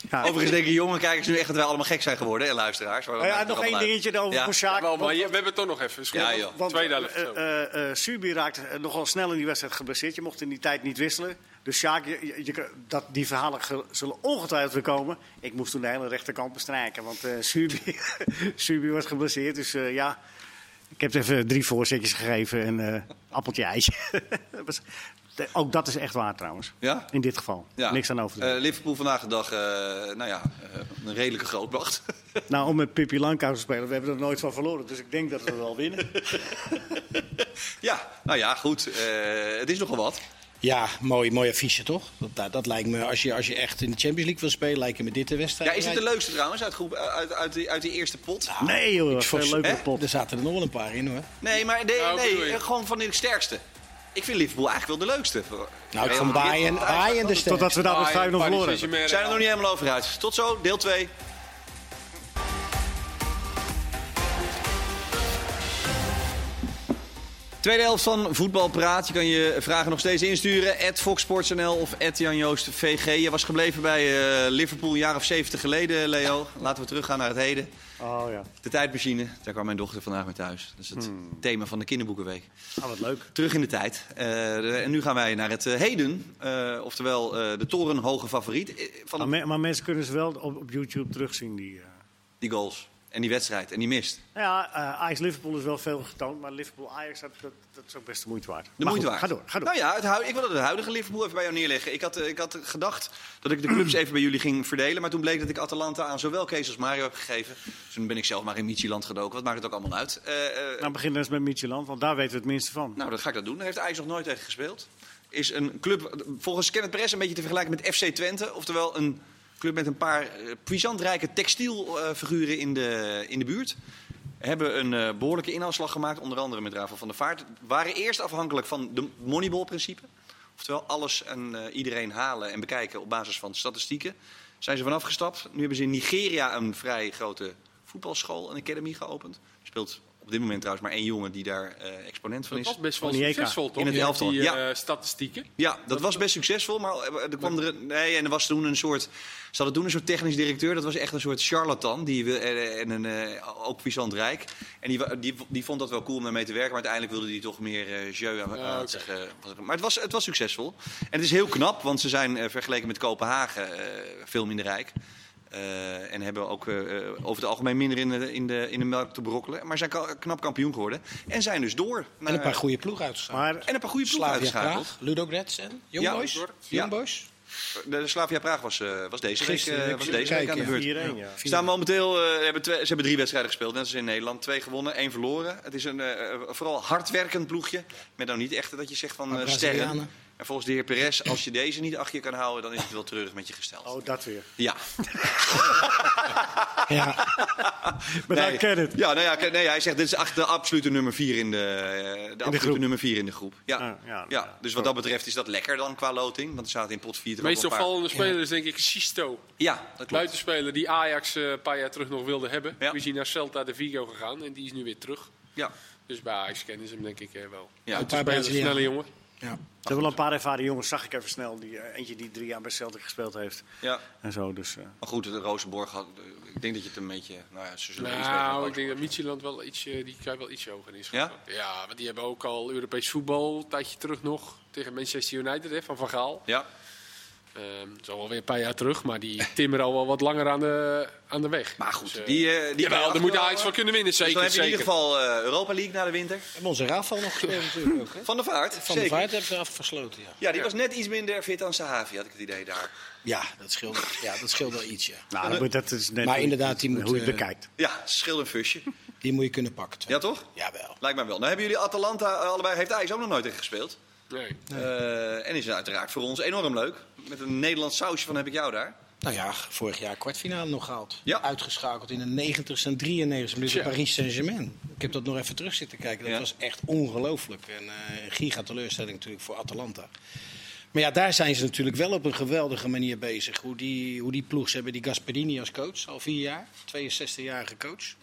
Speaker 2: Ja.
Speaker 1: Overigens denken jonge kijkers nu echt dat wij allemaal gek zijn geworden, hè, luisteraars. Maar dat
Speaker 2: Maar Oh ja,
Speaker 1: maakt het
Speaker 2: nog één
Speaker 1: allemaal uit.
Speaker 2: dingetje over
Speaker 1: Ja.
Speaker 2: voor Sjaak.
Speaker 4: Wel,
Speaker 2: want-
Speaker 4: maar je- we hebben het toch nog even. Scoort
Speaker 1: Ja,
Speaker 4: nog
Speaker 1: joh.
Speaker 2: Want
Speaker 4: Tweede helft.
Speaker 2: eh,
Speaker 4: zo.
Speaker 2: eh, eh, Subi raakte eh, nogal snel in die wedstrijd geblesseerd. Je mocht in die tijd niet wisselen. Dus Sjaak, je, je- je- dat, die verhalen ge- zullen ongetwijfeld weer komen. Ik moest toen de hele rechterkant bestrijken, want eh Subi, Subi was geblesseerd. Dus eh, ja, ik heb even drie voorzetjes gegeven en eh appeltje ijsje. Dat was- de- Ook dat is echt waar trouwens.
Speaker 1: Ja?
Speaker 2: In dit geval.
Speaker 1: Ja.
Speaker 2: Niks aan over te doen.
Speaker 1: Eh, Liverpool vandaag de dag, eh, nou ja, eh, een redelijke grootmacht.
Speaker 2: Nou, om met Pippi Lankhuis te spelen, we hebben er nooit van verloren. Dus ik denk dat we wel winnen.
Speaker 1: ja, nou ja, goed. eh, het is nogal wat.
Speaker 3: Ja, mooi, mooi affiche toch? Dat, dat, dat lijkt me, als je, als je echt in de Champions League wil spelen, lijken me dit de wedstrijd.
Speaker 1: Ja, is dit de leukste trouwens uit, groep, eh, uit, uit, die, uit die eerste pot?
Speaker 2: Nee joh, dat
Speaker 3: vond-
Speaker 2: is een leuke
Speaker 1: hè?
Speaker 2: pot.
Speaker 3: Er zaten er nog wel een paar in hoor.
Speaker 1: Nee, maar nee,
Speaker 4: Nou,
Speaker 1: nee,
Speaker 4: bedoel je?
Speaker 1: eh, gewoon van de sterkste. Ik vind Liverpool eigenlijk wel de leukste.
Speaker 3: Nou, ik
Speaker 1: Real
Speaker 3: vond
Speaker 1: Madrid,
Speaker 3: Bayern,
Speaker 1: Ajax,
Speaker 3: Bayern de sterk.
Speaker 2: Totdat we daar met 5-0
Speaker 4: Bayern,
Speaker 2: verloren
Speaker 4: Ah, Paris
Speaker 2: hebben.
Speaker 1: We
Speaker 4: Saint-Germain.
Speaker 1: zijn er nog niet helemaal over uit. Tot zo, deel 2. Tweede helft van Voetbal Praat. Je kan je vragen nog steeds insturen. At FoxSportsNL of at Jan Joost VG. Je was gebleven bij eh, Liverpool een jaar of 70 geleden, Leo. Laten we teruggaan naar het heden.
Speaker 2: Oh ja,
Speaker 1: De tijdmachine. Daar kwam mijn dochter vandaag mee thuis. Dat is het thema van de kinderboekenweek.
Speaker 2: ah, wat leuk.
Speaker 1: Terug in de tijd. Eh, de- en nu gaan wij naar het eh, heden. Eh, oftewel eh, de torenhoge favoriet eh, van
Speaker 2: Maar,
Speaker 1: het
Speaker 2: me- maar mensen kunnen ze wel op, op YouTube terugzien. Die, eh.
Speaker 1: die goals en die wedstrijd en die mist.
Speaker 2: Nou ja, eh, Ajax-Liverpool is wel veel getoond, maar Liverpool-Ajax, dat, dat, dat is ook best de moeite waard.
Speaker 1: De
Speaker 2: Maar
Speaker 1: moeite
Speaker 2: goed,
Speaker 1: waard.
Speaker 2: Ga door, ga door.
Speaker 1: Nou ja, het hui- ik wilde het huidige Liverpool even bij jou neerleggen. Ik had, eh, ik had gedacht dat ik de clubs even bij jullie ging verdelen. Maar toen bleek dat ik Atalanta aan zowel Kees als Mario heb gegeven. Dus toen ben ik zelf maar in Michieland gedoken. Wat maakt het ook allemaal uit? Eh, eh,
Speaker 2: Nou, beginnen we eens met Micheland, want daar weten we het minste van.
Speaker 1: nou, dat ga ik dat doen. Daar heeft Ajax nog nooit tegen gespeeld. Is een club, volgens Kenneth Perez, een beetje te vergelijken met FC Twente. Oftewel een club met een paar eh, puissant rijke textielfiguren eh, in de, in de buurt. Hebben een eh, behoorlijke inhaalslag gemaakt, onder andere met Rafael van der Vaart. Waren eerst afhankelijk van de Moneyball-principe. Oftewel alles en eh, iedereen halen en bekijken op basis van statistieken. Zijn ze vanaf gestapt. Nu hebben ze in Nigeria een vrij grote voetbalschool, een academy geopend. Speelt op dit moment trouwens maar één jongen die daar eh, exponent van
Speaker 4: Dat
Speaker 1: is.
Speaker 4: was best wel
Speaker 2: Van die EK.
Speaker 4: succesvol, toch?
Speaker 1: In het
Speaker 4: Die-
Speaker 1: elftal,
Speaker 4: Die
Speaker 1: ja.
Speaker 4: eh, statistieken.
Speaker 1: Ja, dat was best succesvol, maar eh, er kwam er een, nee, en er was toen een soort, ze hadden toen een soort technisch directeur, dat was echt een soort charlatan, die wil- eh, en een eh, ook puissant rijk, en die, wa- die, die vond dat wel cool om daarmee te werken, maar uiteindelijk wilde die toch meer eh jeu aan, aan
Speaker 4: Ah, oké.
Speaker 1: zich, eh, wat- maar het was, het was succesvol en het is heel knap, want ze zijn eh, vergeleken met Kopenhagen eh, veel minder rijk. Eh, en hebben ook eh, eh, over het algemeen minder in de, in, de, in de melk te brokkelen. Maar zijn ka- knap kampioen geworden. En zijn dus door.
Speaker 3: En
Speaker 1: naar-
Speaker 3: een paar goede ploeg uitgeschakeld.
Speaker 2: Maar
Speaker 1: en een paar goede ploegen
Speaker 3: Slavia
Speaker 1: uitgeschakeld.
Speaker 3: Praag, Ludo Gretz en Young
Speaker 1: Ja,
Speaker 3: Boys.
Speaker 1: hoor. Ja.
Speaker 3: Young Boys.
Speaker 1: De Slavia Praag was, eh, was deze
Speaker 3: Gisteren,
Speaker 1: week, eh,
Speaker 3: ik
Speaker 1: was
Speaker 3: zit
Speaker 1: deze
Speaker 3: te
Speaker 1: week aan
Speaker 3: kijken,
Speaker 1: de
Speaker 3: ja.
Speaker 1: beurt.
Speaker 2: 4-1, ja.
Speaker 1: Ze Staan momenteel, eh, hebben twee, ze hebben drie wedstrijden gespeeld, net als in Nederland. Twee gewonnen, één verloren. Het is een eh, eh, vooral hardwerkend ploegje. Met nou niet echt dat je zegt van
Speaker 3: Maar
Speaker 1: eh, sterren.
Speaker 3: Brazilianen.
Speaker 1: En volgens de heer Perez, als je deze niet achter je kan houden, dan is het wel treurig met je gesteld.
Speaker 2: Oh, dat weer.
Speaker 1: Ja,
Speaker 3: Ja,
Speaker 2: Maar
Speaker 1: Nee.
Speaker 2: daar ken het.
Speaker 1: Ja, nou ja, Ken- nee, hij zegt dit is echt de absolute nummer vier in de, eh, de, absolute
Speaker 2: groep.
Speaker 1: nummer vier in de groep. Ja.
Speaker 2: Ah, ja,
Speaker 1: ja,
Speaker 2: nou ja.
Speaker 1: dus wat dat betreft is dat lekker dan qua loting. Want er zaten in pot 4
Speaker 4: De
Speaker 1: toch ook
Speaker 4: meest
Speaker 1: wel een paar-
Speaker 4: opvallende speler is denk ik Sisto.
Speaker 1: Ja, dat klopt.
Speaker 4: Buitenspeler die Ajax eh, een paar jaar terug nog wilde hebben.
Speaker 1: Ja.
Speaker 4: Die is hij naar Celta de Vigo gegaan en die is nu weer terug.
Speaker 1: Ja.
Speaker 4: Dus bij Ajax kennen ze hem denk ik eh, wel.
Speaker 1: Ja.
Speaker 4: Een paar Brazilianen. snelle jongen.
Speaker 3: ja.
Speaker 2: Er hebben wel een paar ervaren jongens, zag ik even snel. Die, eh, eentje die drie jaar bij Celtic gespeeld heeft
Speaker 1: ja.
Speaker 2: en zo. Dus, eh,
Speaker 1: Maar goed, de Rozenborg had, eh, Ik denk dat je het een beetje... Nou ja, ze zullen iets weten van
Speaker 4: Nou, ik denk dat
Speaker 1: Ajax.
Speaker 4: Micheland wel iets, eh, die kan je wel iets hoger in
Speaker 1: Ja?
Speaker 4: schatten. Ja, want die hebben ook al Europees voetbal een tijdje terug nog tegen Manchester United hè, van Van Gaal.
Speaker 1: Ja,
Speaker 4: Ehm dat is alweer een paar jaar terug, maar die timmeren al wel wat langer aan de, aan de weg.
Speaker 1: maar goed.
Speaker 4: Dus, eh,
Speaker 1: die, eh, die
Speaker 4: jawel, daar moet Ajax
Speaker 1: van
Speaker 4: van kunnen winnen,
Speaker 1: Dus
Speaker 4: zeker.
Speaker 1: dan heb je in
Speaker 4: zeker.
Speaker 1: ieder geval eh, Europa League na de winter.
Speaker 3: En onze Rafael nog gespeeld natuurlijk ook. Hè?
Speaker 1: Van der Vaart,
Speaker 3: Van
Speaker 1: zeker.
Speaker 3: de Vaart hebben ze afgesloten, ja.
Speaker 1: Ja, die was net iets minder fit dan Sahavi, had ik het idee daar.
Speaker 3: Ja, dat scheelt, ja, dat scheelt wel iets, ja.
Speaker 2: Nou, maar dat is net
Speaker 3: Maar
Speaker 2: hoe-
Speaker 3: inderdaad, die moet,
Speaker 2: hoe je het
Speaker 3: eh,
Speaker 2: bekijkt.
Speaker 1: Ja, schil een fusje.
Speaker 3: Die moet je kunnen pakken.
Speaker 1: Ja, toch?
Speaker 3: Jawel.
Speaker 1: Lijkt mij wel. Nou hebben jullie Atalanta eh, allebei, heeft Ajax ook nog nooit tegen gespeeld.
Speaker 4: Nee.
Speaker 1: Eh, en is het uiteraard voor ons enorm leuk. Met een Nederlands sausje van heb ik jou daar.
Speaker 3: Nou ja, vorig jaar kwartfinale nog gehaald.
Speaker 1: Ja.
Speaker 3: Uitgeschakeld in de 90 en 93 minuten
Speaker 4: Tja.
Speaker 3: Paris Saint-Germain. Ik heb dat nog even terug zitten kijken. Dat
Speaker 1: Ja.
Speaker 3: was echt ongelooflijk. En, eh, Een giga teleurstelling natuurlijk voor Atalanta. Maar ja, daar zijn ze natuurlijk wel op een geweldige manier bezig. Hoe die, hoe die ploeg, ze hebben die Gasperini als coach, al vier jaar. 62-jarige coach.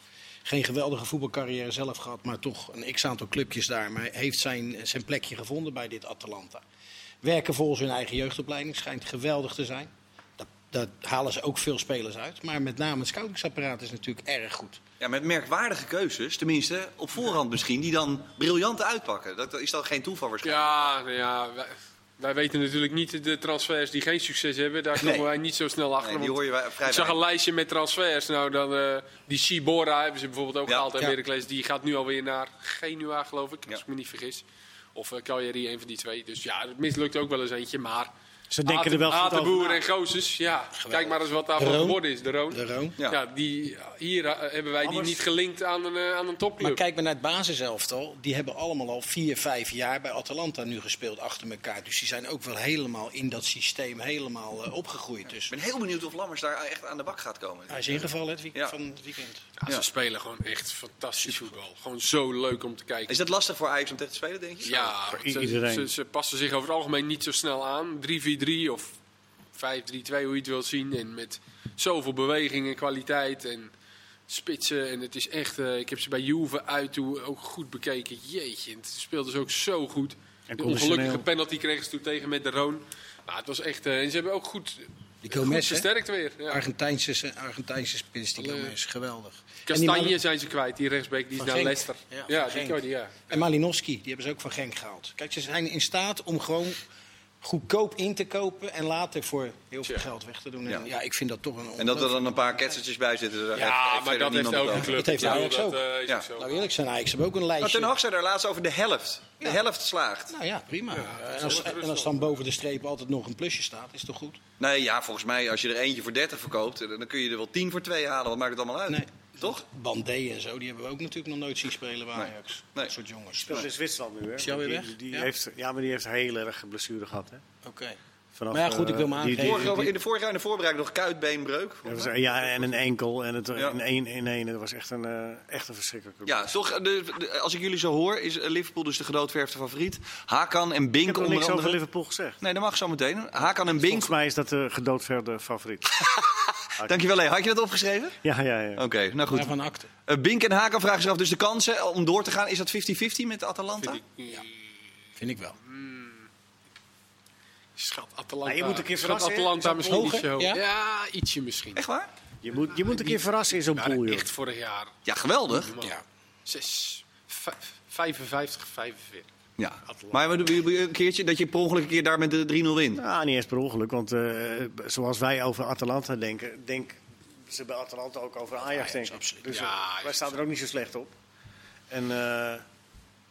Speaker 3: Geen geweldige voetbalcarrière zelf gehad, maar toch een x-aantal clubjes daar. Maar heeft zijn, zijn plekje gevonden bij dit Atalanta. Werken volgens hun eigen jeugdopleiding, schijnt geweldig te zijn. Daar, daar halen ze ook veel spelers uit. Maar met name het scoutingsapparaat is natuurlijk erg goed.
Speaker 1: Ja, met merkwaardige keuzes, tenminste op voorhand misschien, die dan briljant uitpakken. Dat dat is dan geen toeval waarschijnlijk.
Speaker 4: Ja, nou ja wij, wij weten natuurlijk niet de transfers die geen succes hebben. Daar komen
Speaker 1: Nee.
Speaker 4: wij niet zo snel achter.
Speaker 1: Nee, die
Speaker 4: want
Speaker 1: hoor je wij- vrij
Speaker 4: ik zag een
Speaker 1: weinig.
Speaker 4: lijstje met transfers. Nou, dan, eh, die Sibora hebben ze bijvoorbeeld ook
Speaker 1: Ja.
Speaker 4: gehaald uit
Speaker 3: Ja.
Speaker 4: Heracles. Die gaat nu alweer naar Genua, geloof ik, als
Speaker 1: Ja.
Speaker 4: ik me niet vergis. Of eh Cagliari, een van die twee. Dus ja, het mislukt ook wel eens eentje. Maar
Speaker 2: Ze denken er wel goed over
Speaker 4: Atenboer
Speaker 2: na.
Speaker 4: en Gozes, ja. Kijk maar eens wat daarvan
Speaker 3: Roon.
Speaker 4: geworden is, de Roon.
Speaker 3: De Roon.
Speaker 1: Ja.
Speaker 4: Ja. die, hier eh, hebben wij die
Speaker 2: Anders-
Speaker 4: niet gelinkt aan een, eh, aan een topclub.
Speaker 3: Maar kijk maar naar het basiselftal. Die hebben allemaal al vier, vijf jaar bij Atalanta nu gespeeld achter elkaar. Dus die zijn ook wel helemaal in dat systeem helemaal eh, opgegroeid. Dus
Speaker 1: Ik ben heel benieuwd of Lammers daar echt aan de bak gaat komen.
Speaker 3: hij is ingevallen het week-
Speaker 1: Ja.
Speaker 3: van het weekend.
Speaker 4: Ja,
Speaker 1: Ja.
Speaker 4: Ze spelen gewoon echt fantastisch voetbal. Gewoon zo leuk om te kijken.
Speaker 1: Is dat lastig voor Ajax om tegen te spelen, denk je?
Speaker 4: Ja,
Speaker 2: Voor
Speaker 4: want ze-
Speaker 2: iedereen.
Speaker 4: Ze, ze passen zich over het algemeen niet zo snel aan. 3-4-3 of 5-3-2, hoe je het wilt zien. En met zoveel beweging en kwaliteit en spitsen. En het is echt, eh, ik heb ze bij Juve uit toe ook goed bekeken. Jeetje, en het speelden ze ook zo goed.
Speaker 2: En
Speaker 4: De
Speaker 2: conditioneel.
Speaker 4: ongelukkige penalty kregen ze toen tegen met de Roon. Maar het was echt, eh, en ze hebben ook goed,
Speaker 3: Die
Speaker 4: goed
Speaker 3: Gomez, hè?
Speaker 4: versterkt weer. Ja.
Speaker 3: Argentijnse, Argentijnse spits, die
Speaker 4: Alle-
Speaker 3: Gomez. Geweldig. En, die
Speaker 4: Kastanje
Speaker 3: Mal-
Speaker 4: zijn ze kwijt, die rechtsbeek, die is
Speaker 3: Van
Speaker 4: naar
Speaker 3: Genk.
Speaker 4: Leicester.
Speaker 3: Ja,
Speaker 4: Ja,
Speaker 3: van
Speaker 4: die
Speaker 3: Genk.
Speaker 4: kan je, ja.
Speaker 3: en Malinowski, die hebben ze ook van Genk gehaald. Kijk, ze zijn in staat om gewoon goedkoop in te kopen en later voor heel veel
Speaker 4: Tja.
Speaker 3: geld weg te doen.
Speaker 1: Ja.
Speaker 3: En, ja, ik vind dat toch een
Speaker 1: En dat er dan een paar ketsertjes bij zitten. daar heeft-
Speaker 4: Ja,
Speaker 1: heeft
Speaker 4: maar
Speaker 1: verder
Speaker 4: dat heeft
Speaker 1: niemand
Speaker 4: elke
Speaker 1: het over.
Speaker 4: club.
Speaker 3: Dat heeft
Speaker 4: Ja,
Speaker 3: Ajax ook.
Speaker 4: eh, is
Speaker 1: Ja.
Speaker 4: ook zo.
Speaker 3: Nou eerlijk zijn, Ajax hebben ook een lijstje.
Speaker 1: Maar Ten Hag zei daar laatst over de helft. De
Speaker 3: Ja.
Speaker 1: helft slaagt.
Speaker 3: Nou ja, prima. en, als, en als dan boven de streep altijd nog een plusje staat, is toch goed?
Speaker 1: Nee, ja, volgens mij als je er eentje voor 30 verkoopt, dan kun je er wel 10 voor 2 halen. Wat maakt het allemaal uit?
Speaker 3: Nee.
Speaker 1: Eh, Toch?
Speaker 3: Bandé en zo, die hebben we ook natuurlijk nog nooit zien spelen bij
Speaker 1: Nee.
Speaker 3: Ajax.
Speaker 1: Nee.
Speaker 3: Dat soort jongens. Dus,
Speaker 2: Speelt in Dus Zwitserland nu, hè?
Speaker 3: Is hij alweer
Speaker 2: Die-
Speaker 3: weg?
Speaker 2: die
Speaker 3: Ja.
Speaker 2: heeft- Ja, maar die heeft heel erg blessure gehad, hè?
Speaker 3: eh, Oké.
Speaker 2: Vanaf,
Speaker 3: Maar ja, goed, ik wil
Speaker 2: eh,
Speaker 3: maar
Speaker 2: die- die-
Speaker 3: aangeven-
Speaker 1: Vorig,
Speaker 2: die-
Speaker 1: in de vorige jaar in de voorbereiding nog kuitbeenbreuk.
Speaker 2: Ja, dat was- Ja, en een enkel en het,
Speaker 1: Ja.
Speaker 2: een één in één. Dat was echt een, eh, echt een verschrikkelijke.
Speaker 1: Ja, toch, eh, de, de- als ik jullie zo hoor, is eh, Liverpool dus de gedoodverfde favoriet. Hakan en
Speaker 2: ik
Speaker 1: Bink
Speaker 2: heb nog
Speaker 1: onder
Speaker 2: niks
Speaker 1: andere.
Speaker 2: over Liverpool gezegd.
Speaker 1: Nee, dat mag zo meteen. Hakan en Bink.
Speaker 2: Volgens mij is dat de gedoodverde favoriet.
Speaker 1: Dankjewel, hé. Had je dat opgeschreven?
Speaker 2: Ja, ja, ja.
Speaker 1: Oké, nou goed.
Speaker 3: Daarvan akte.
Speaker 1: Eh, Bink en Hakan vragen zich af, dus de kansen om door te gaan, is dat 50-50 met Atalanta?
Speaker 4: Vind ik,
Speaker 3: Vind ik wel.
Speaker 4: Schat Atalanta.
Speaker 2: Maar je moet een keer
Speaker 4: Schat
Speaker 2: verrassen, hè?
Speaker 4: Atalanta misschien
Speaker 3: hoger?
Speaker 4: ietsje hoger.
Speaker 3: Ja?
Speaker 4: Ja? ietsje misschien.
Speaker 1: Echt waar?
Speaker 2: Je, moet, je moet een keer verrassen in zo'n
Speaker 4: Ja,
Speaker 2: pool, joh.
Speaker 4: echt vorig jaar.
Speaker 1: Ja, geweldig.
Speaker 4: Man,
Speaker 3: Ja.
Speaker 4: Zes, vijf- 55, 45.
Speaker 1: Ja. Maar we doen een keertje dat je per ongeluk een keer daar met de 3-0 wint.
Speaker 2: Nou, niet eens per ongeluk, want eh, zoals wij over Atalanta denken, denk ze bij Atalanta ook over Ajax denken.
Speaker 3: absoluut.
Speaker 2: Dus eh,
Speaker 4: Ja,
Speaker 2: wij
Speaker 4: is
Speaker 2: staan er ook niet zo slecht op. En eh,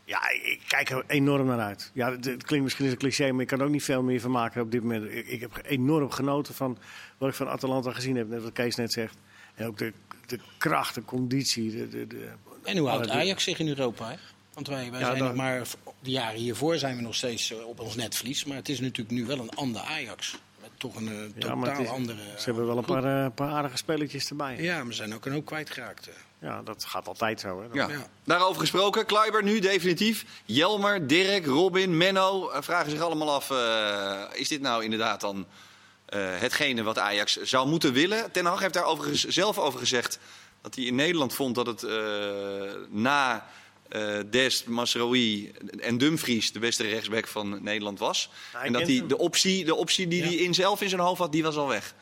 Speaker 2: ja, ik kijk er enorm naar uit. Ja, het, het klinkt misschien als een cliché, maar ik kan er ook niet veel meer van maken op dit moment. Ik, ik heb enorm genoten van wat ik van Atalanta gezien heb, net wat Kees net zegt. En ook de, de kracht, de conditie. De, de, de,
Speaker 3: En hoe houdt
Speaker 2: alle-
Speaker 3: Ajax zich in Europa? Hè? Want wij, wij
Speaker 2: Ah, Ja,
Speaker 3: zijn
Speaker 2: dan-
Speaker 3: nog maar, de jaren hiervoor zijn we nog steeds eh, op ons netvlies. Maar het is natuurlijk nu wel een ander Ajax. Met toch een eh,
Speaker 2: Ja, maar
Speaker 3: totaal
Speaker 2: het is-
Speaker 3: andere...
Speaker 2: Ze hebben wel een paar, eh, paar aardige spelletjes erbij.
Speaker 3: Ja, maar we zijn ook een hoop kwijtgeraakt. eh.
Speaker 2: Ja, dat gaat altijd zo. Hè. Dat-
Speaker 1: Ja.
Speaker 3: Ja.
Speaker 1: Daarover gesproken, Kleiber nu definitief. Jelmer, Dirk, Robin, Menno eh, vragen zich allemaal af... eh, is dit nou inderdaad dan eh, hetgene wat Ajax zou moeten willen? Ten Hag heeft daar overigens zelf over gezegd... dat hij in Nederland vond dat het eh, na eh Dest, Masraoui en Dumfries... de beste rechtsback van Nederland was.
Speaker 2: Hij
Speaker 1: en dat
Speaker 2: kent
Speaker 1: hij
Speaker 2: hem.
Speaker 1: de optie, de optie die
Speaker 3: Ja.
Speaker 1: hij in zelf in zijn hoofd had, die was al weg. Ik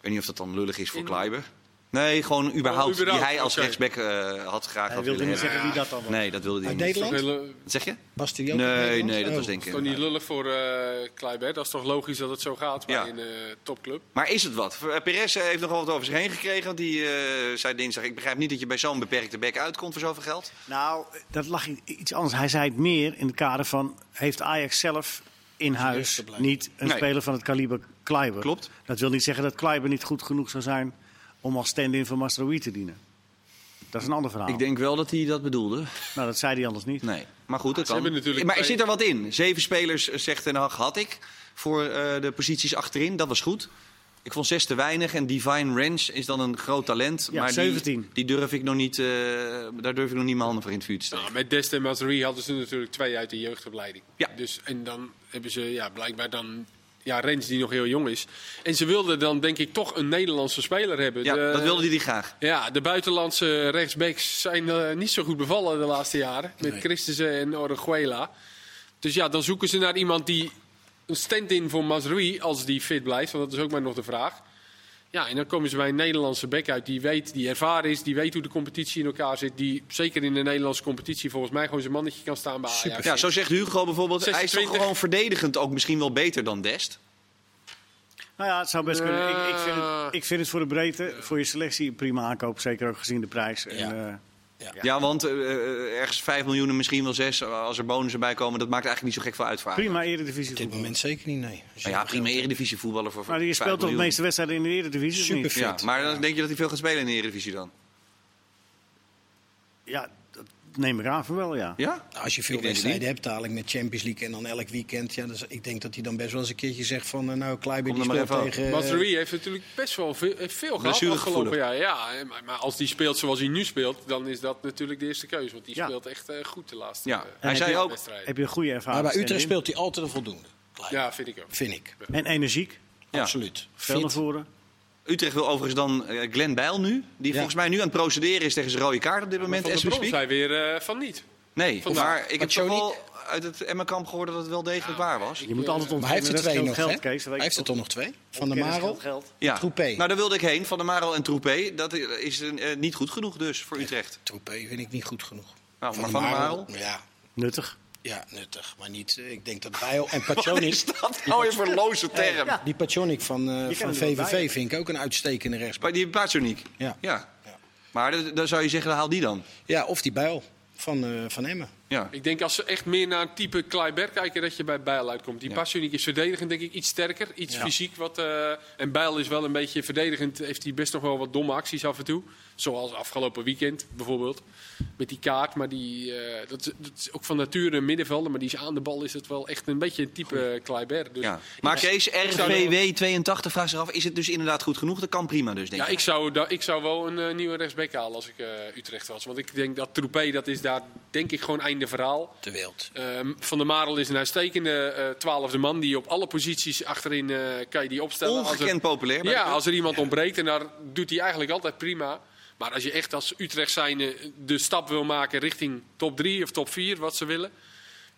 Speaker 1: weet niet of dat dan lullig is voor
Speaker 4: In-
Speaker 1: Kleiber. Nee, gewoon überhaupt.
Speaker 4: Oh, überhaupt,
Speaker 1: Die hij als
Speaker 4: oké.
Speaker 1: rechtsback eh, had graag
Speaker 2: Hij
Speaker 1: had
Speaker 2: wilde
Speaker 1: willen
Speaker 2: niet
Speaker 1: hebben.
Speaker 2: zeggen wie dat dan was.
Speaker 1: Nee, dat wilde hij
Speaker 3: Uit
Speaker 1: niet.
Speaker 4: Dat
Speaker 3: Nederland?
Speaker 4: is toch heel-
Speaker 1: Wat Zeg je?
Speaker 3: Was die ook uit
Speaker 1: Nee,
Speaker 3: Nederland?
Speaker 1: nee, dat
Speaker 3: Oh.
Speaker 1: was
Speaker 4: is toch
Speaker 1: denken.
Speaker 4: eh, niet lullig voor eh Kleibert? Dat is toch logisch dat het zo gaat
Speaker 1: Ja.
Speaker 4: bij een eh, topclub?
Speaker 1: Maar is het wat? Eh, Perez heeft nogal wat over zich heen gekregen. Want die eh, zei dinsdag: Ik begrijp niet dat je bij zo'n beperkte bek uitkomt voor zoveel geld.
Speaker 2: Nou, dat lag i- iets anders. Hij zei het meer in het kader van... heeft Ajax zelf in huis niet een
Speaker 1: Nee.
Speaker 2: speler van het kaliber Kleiber?
Speaker 1: Klopt.
Speaker 2: Dat wil niet zeggen dat Kleiber niet goed genoeg zou zijn... om als stand-in voor Mastrowi te dienen. Dat is een ander verhaal.
Speaker 1: denk wel dat hij dat bedoelde.
Speaker 2: Nou, dat zei hij anders niet.
Speaker 1: Nee, maar goed, dat
Speaker 4: ze
Speaker 1: kan.
Speaker 4: hebben natuurlijk
Speaker 1: maar er
Speaker 4: twee-
Speaker 1: zit er wat in? Zeven spelers, eh, zegt Ten Hag, had ik voor eh, de posities achterin. Dat was goed. Ik vond zes te weinig en Divine Ranch is dan een groot talent.
Speaker 2: Ja,
Speaker 1: maar
Speaker 2: 17.
Speaker 1: Die, die durf ik nog niet, eh, daar durf ik nog niet mijn handen voor in het vuur te steken.
Speaker 4: Nou, met Dest en Mazuri hadden ze natuurlijk twee uit de jeugdopleiding.
Speaker 1: Ja.
Speaker 4: Dus, en dan hebben ze ja, blijkbaar dan ja, Rens die nog heel jong is. En ze wilden dan denk ik toch een Nederlandse speler hebben.
Speaker 1: ja,
Speaker 4: De-
Speaker 1: dat wilde hij graag.
Speaker 4: Ja, de buitenlandse rechtsbacks zijn eh, niet zo goed bevallen de laatste jaren. Met Christensen en Orihuela. Dus ja, dan zoeken ze naar iemand die een stand-in voor Mazrui, als die fit blijft. Want dat is ook maar nog de vraag. Ja, en dan komen ze bij een Nederlandse back uit die weet, die ervaren is, die weet hoe de competitie in elkaar zit. Die zeker in de Nederlandse competitie volgens mij gewoon zijn mannetje kan staan
Speaker 2: Ah,
Speaker 4: bij Ajax.
Speaker 1: Ja, zo zegt Hugo bijvoorbeeld. Hij is toch
Speaker 4: 26.
Speaker 1: gewoon verdedigend ook misschien wel beter dan Dest.
Speaker 2: Nou ja, het zou best kunnen. Ik, ik, vind
Speaker 4: Eh.
Speaker 2: het, ik vind het voor de breedte, voor je selectie, een prima aankoop. Zeker ook gezien de prijs. En, eh,
Speaker 1: Ja, want eh, eh, ergens 5 miljoen en misschien wel 6 als er bonussen bij komen. Dat maakt eigenlijk niet zo gek veel uit voor Ajax.
Speaker 2: prima eredivisie
Speaker 3: Op dit
Speaker 2: voetbal.
Speaker 3: moment zeker niet, nee.
Speaker 1: Maar ja, prima eredivisie voetballer voor
Speaker 2: Maar die
Speaker 1: 5
Speaker 2: speelt toch de
Speaker 1: miljoen.
Speaker 2: meeste wedstrijden in de eredivisie? of niet?
Speaker 3: Superfit.
Speaker 1: Ja, maar dan denk je dat hij veel gaat spelen in de Eredivisie dan?
Speaker 2: Ja, dat neem ik aan van wel, ja.
Speaker 1: Ja?
Speaker 3: Nou, Als je veel
Speaker 1: Ik denk het
Speaker 3: wedstrijden hebt, dadelijk met Champions League en dan elk weekend. Ja, dus ik denk dat hij dan best wel eens een keertje zegt van... eh, nou, Kleiber
Speaker 1: Kom
Speaker 3: die
Speaker 1: er maar
Speaker 3: speelt
Speaker 1: even
Speaker 3: tegen... eh,
Speaker 4: Mazrui heeft natuurlijk best wel veel, eh, veel gehad
Speaker 1: Blessuregevoelig.
Speaker 4: afgelopen jaar. Ja, eh, maar, maar als die speelt zoals hij nu speelt, dan is dat natuurlijk de eerste keuze. Want die
Speaker 2: Ja.
Speaker 4: speelt echt eh, goed de laatste
Speaker 1: Ja.
Speaker 4: eh,
Speaker 1: Hij
Speaker 2: heb
Speaker 1: zei
Speaker 2: je-
Speaker 1: ook,
Speaker 4: wedstrijden.
Speaker 2: Heb je een goede
Speaker 3: maar
Speaker 2: ervaring?
Speaker 3: bij Utrecht
Speaker 2: stand-in.
Speaker 3: speelt hij altijd een voldoende. Kleiber,
Speaker 4: Ja, vind ik ook.
Speaker 3: Vind ik.
Speaker 2: En energiek.
Speaker 1: Ja.
Speaker 3: Absoluut.
Speaker 2: Veel naar
Speaker 3: Fit.
Speaker 2: voren.
Speaker 1: Utrecht wil overigens dan eh, Glenn Bijl nu. Die
Speaker 3: Ja.
Speaker 1: volgens mij nu aan het procederen is tegen zijn rode kaart op dit moment.
Speaker 4: Van
Speaker 1: as we
Speaker 4: de bron
Speaker 1: speak.
Speaker 4: zei weer eh, van niet.
Speaker 1: Nee,
Speaker 4: Vandaag.
Speaker 1: maar ik heb toch
Speaker 3: Johnny-
Speaker 1: wel uit het Emmenkamp gehoord dat het wel degelijk waar was.
Speaker 2: Je moet altijd ontkennen.
Speaker 3: Maar hij heeft er
Speaker 2: dat
Speaker 3: twee
Speaker 2: scheelt
Speaker 3: nog,
Speaker 2: geld,
Speaker 3: hè?
Speaker 2: Kees. Dat weet
Speaker 3: Hij
Speaker 2: ik
Speaker 3: heeft er
Speaker 2: toch.
Speaker 3: toch nog twee? Van de
Speaker 2: Ontkennen scheelt
Speaker 3: Marel.
Speaker 2: geld.
Speaker 1: Ja.
Speaker 3: Troepé.
Speaker 1: Nou, daar wilde ik heen. Van der Marel en Troepé. Dat eh, is eh, niet goed genoeg dus voor Utrecht.
Speaker 3: Troepé vind ik niet goed genoeg.
Speaker 1: Nou, maar Van der Marel?
Speaker 3: Ja,
Speaker 2: Nuttig.
Speaker 3: ja, nuttig. Maar niet... eh, Ik denk dat Bijl en
Speaker 1: Wat
Speaker 3: Pacionik...
Speaker 1: is dat nou weer voor loze term?
Speaker 3: Die Pacionik van, eh,
Speaker 2: kan
Speaker 3: van
Speaker 2: er wel bij.
Speaker 3: VVV vind ik ook een uitstekende rechtsback.
Speaker 1: Maar Die Patroniek.
Speaker 3: Ja.
Speaker 1: ja. Maar d- dan zou je zeggen, haal die dan.
Speaker 3: Ja, of die Bijl van, eh, van Emmen.
Speaker 1: Ja.
Speaker 4: Ik denk als ze echt meer naar een type Kleiber kijken, dat je bij Bijl uitkomt. Die Pasunic is verdedigend denk ik iets sterker, iets fysiek. Wat, eh, en Bijl is wel een beetje verdedigend, heeft hij best nog wel wat domme acties af en toe. Zoals afgelopen weekend bijvoorbeeld, met die kaart. Maar die, eh, dat, is- dat is ook van nature een middenvelder, maar die is aan de bal is het wel echt een beetje een type Kleiber. Dus
Speaker 1: Ja. Maar Kees, RVW82 vraagt zich af, is het dus inderdaad goed genoeg? Dat kan prima dus, denk
Speaker 4: Ja,
Speaker 1: ik.
Speaker 4: ik zou, da- ik zou wel een eh, nieuwe rechtsback halen als ik eh, Utrecht was. Want ik denk dat Troepé, dat is daar denk ik gewoon einde verhaal.
Speaker 3: Te wild.
Speaker 4: Ehm, van der Marel is een uitstekende eh, twaalfde man. Die op alle posities achterin eh, kan je die opstellen. Als er-
Speaker 1: Ongekend populair. bij
Speaker 4: ja,
Speaker 1: de-
Speaker 4: als er iemand ontbreekt. En daar doet hij eigenlijk altijd prima. Maar als je echt als Utrecht zijnde de stap wil maken richting top 3 of top 4, wat ze willen.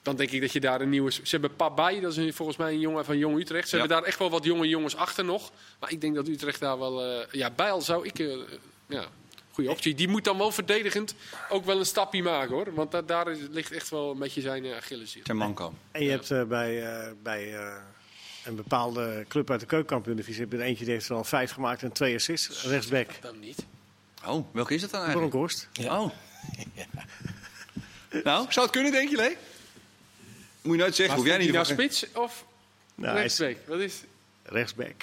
Speaker 4: Dan denk ik dat je daar een nieuwe... Ze hebben Pabay, dat is een- volgens mij een jongen van Jong Utrecht. Ze
Speaker 1: Ja.
Speaker 4: hebben daar echt wel wat jonge jongens achter nog. Maar ik denk dat Utrecht daar wel... eh, ja, Bijl zou ik... eh, ja, goede optie. Die moet dan wel verdedigend ook wel een stapje maken, hoor. Want da- daar is- ligt echt wel een beetje zijn eh, Achilleshiel.
Speaker 1: Ter manco.
Speaker 2: En je hebt eh, bij, eh, bij eh, een bepaalde club uit de keukenkampioen-divisie... heb je er eentje die heeft er al vijf gemaakt en twee assists. Rechtsback.
Speaker 4: Dan niet.
Speaker 1: Oh, welke is dat dan eigenlijk?
Speaker 2: Bronkhorst.
Speaker 1: Oh. Nou, zou het kunnen, denk je, Lee? Moet je nooit zeggen, hoef jij
Speaker 4: Vind
Speaker 1: niet
Speaker 4: je nou
Speaker 1: te wachten.
Speaker 4: spits of
Speaker 2: Nou, hij is
Speaker 4: rechtsback? Wat is...
Speaker 2: rechtsback.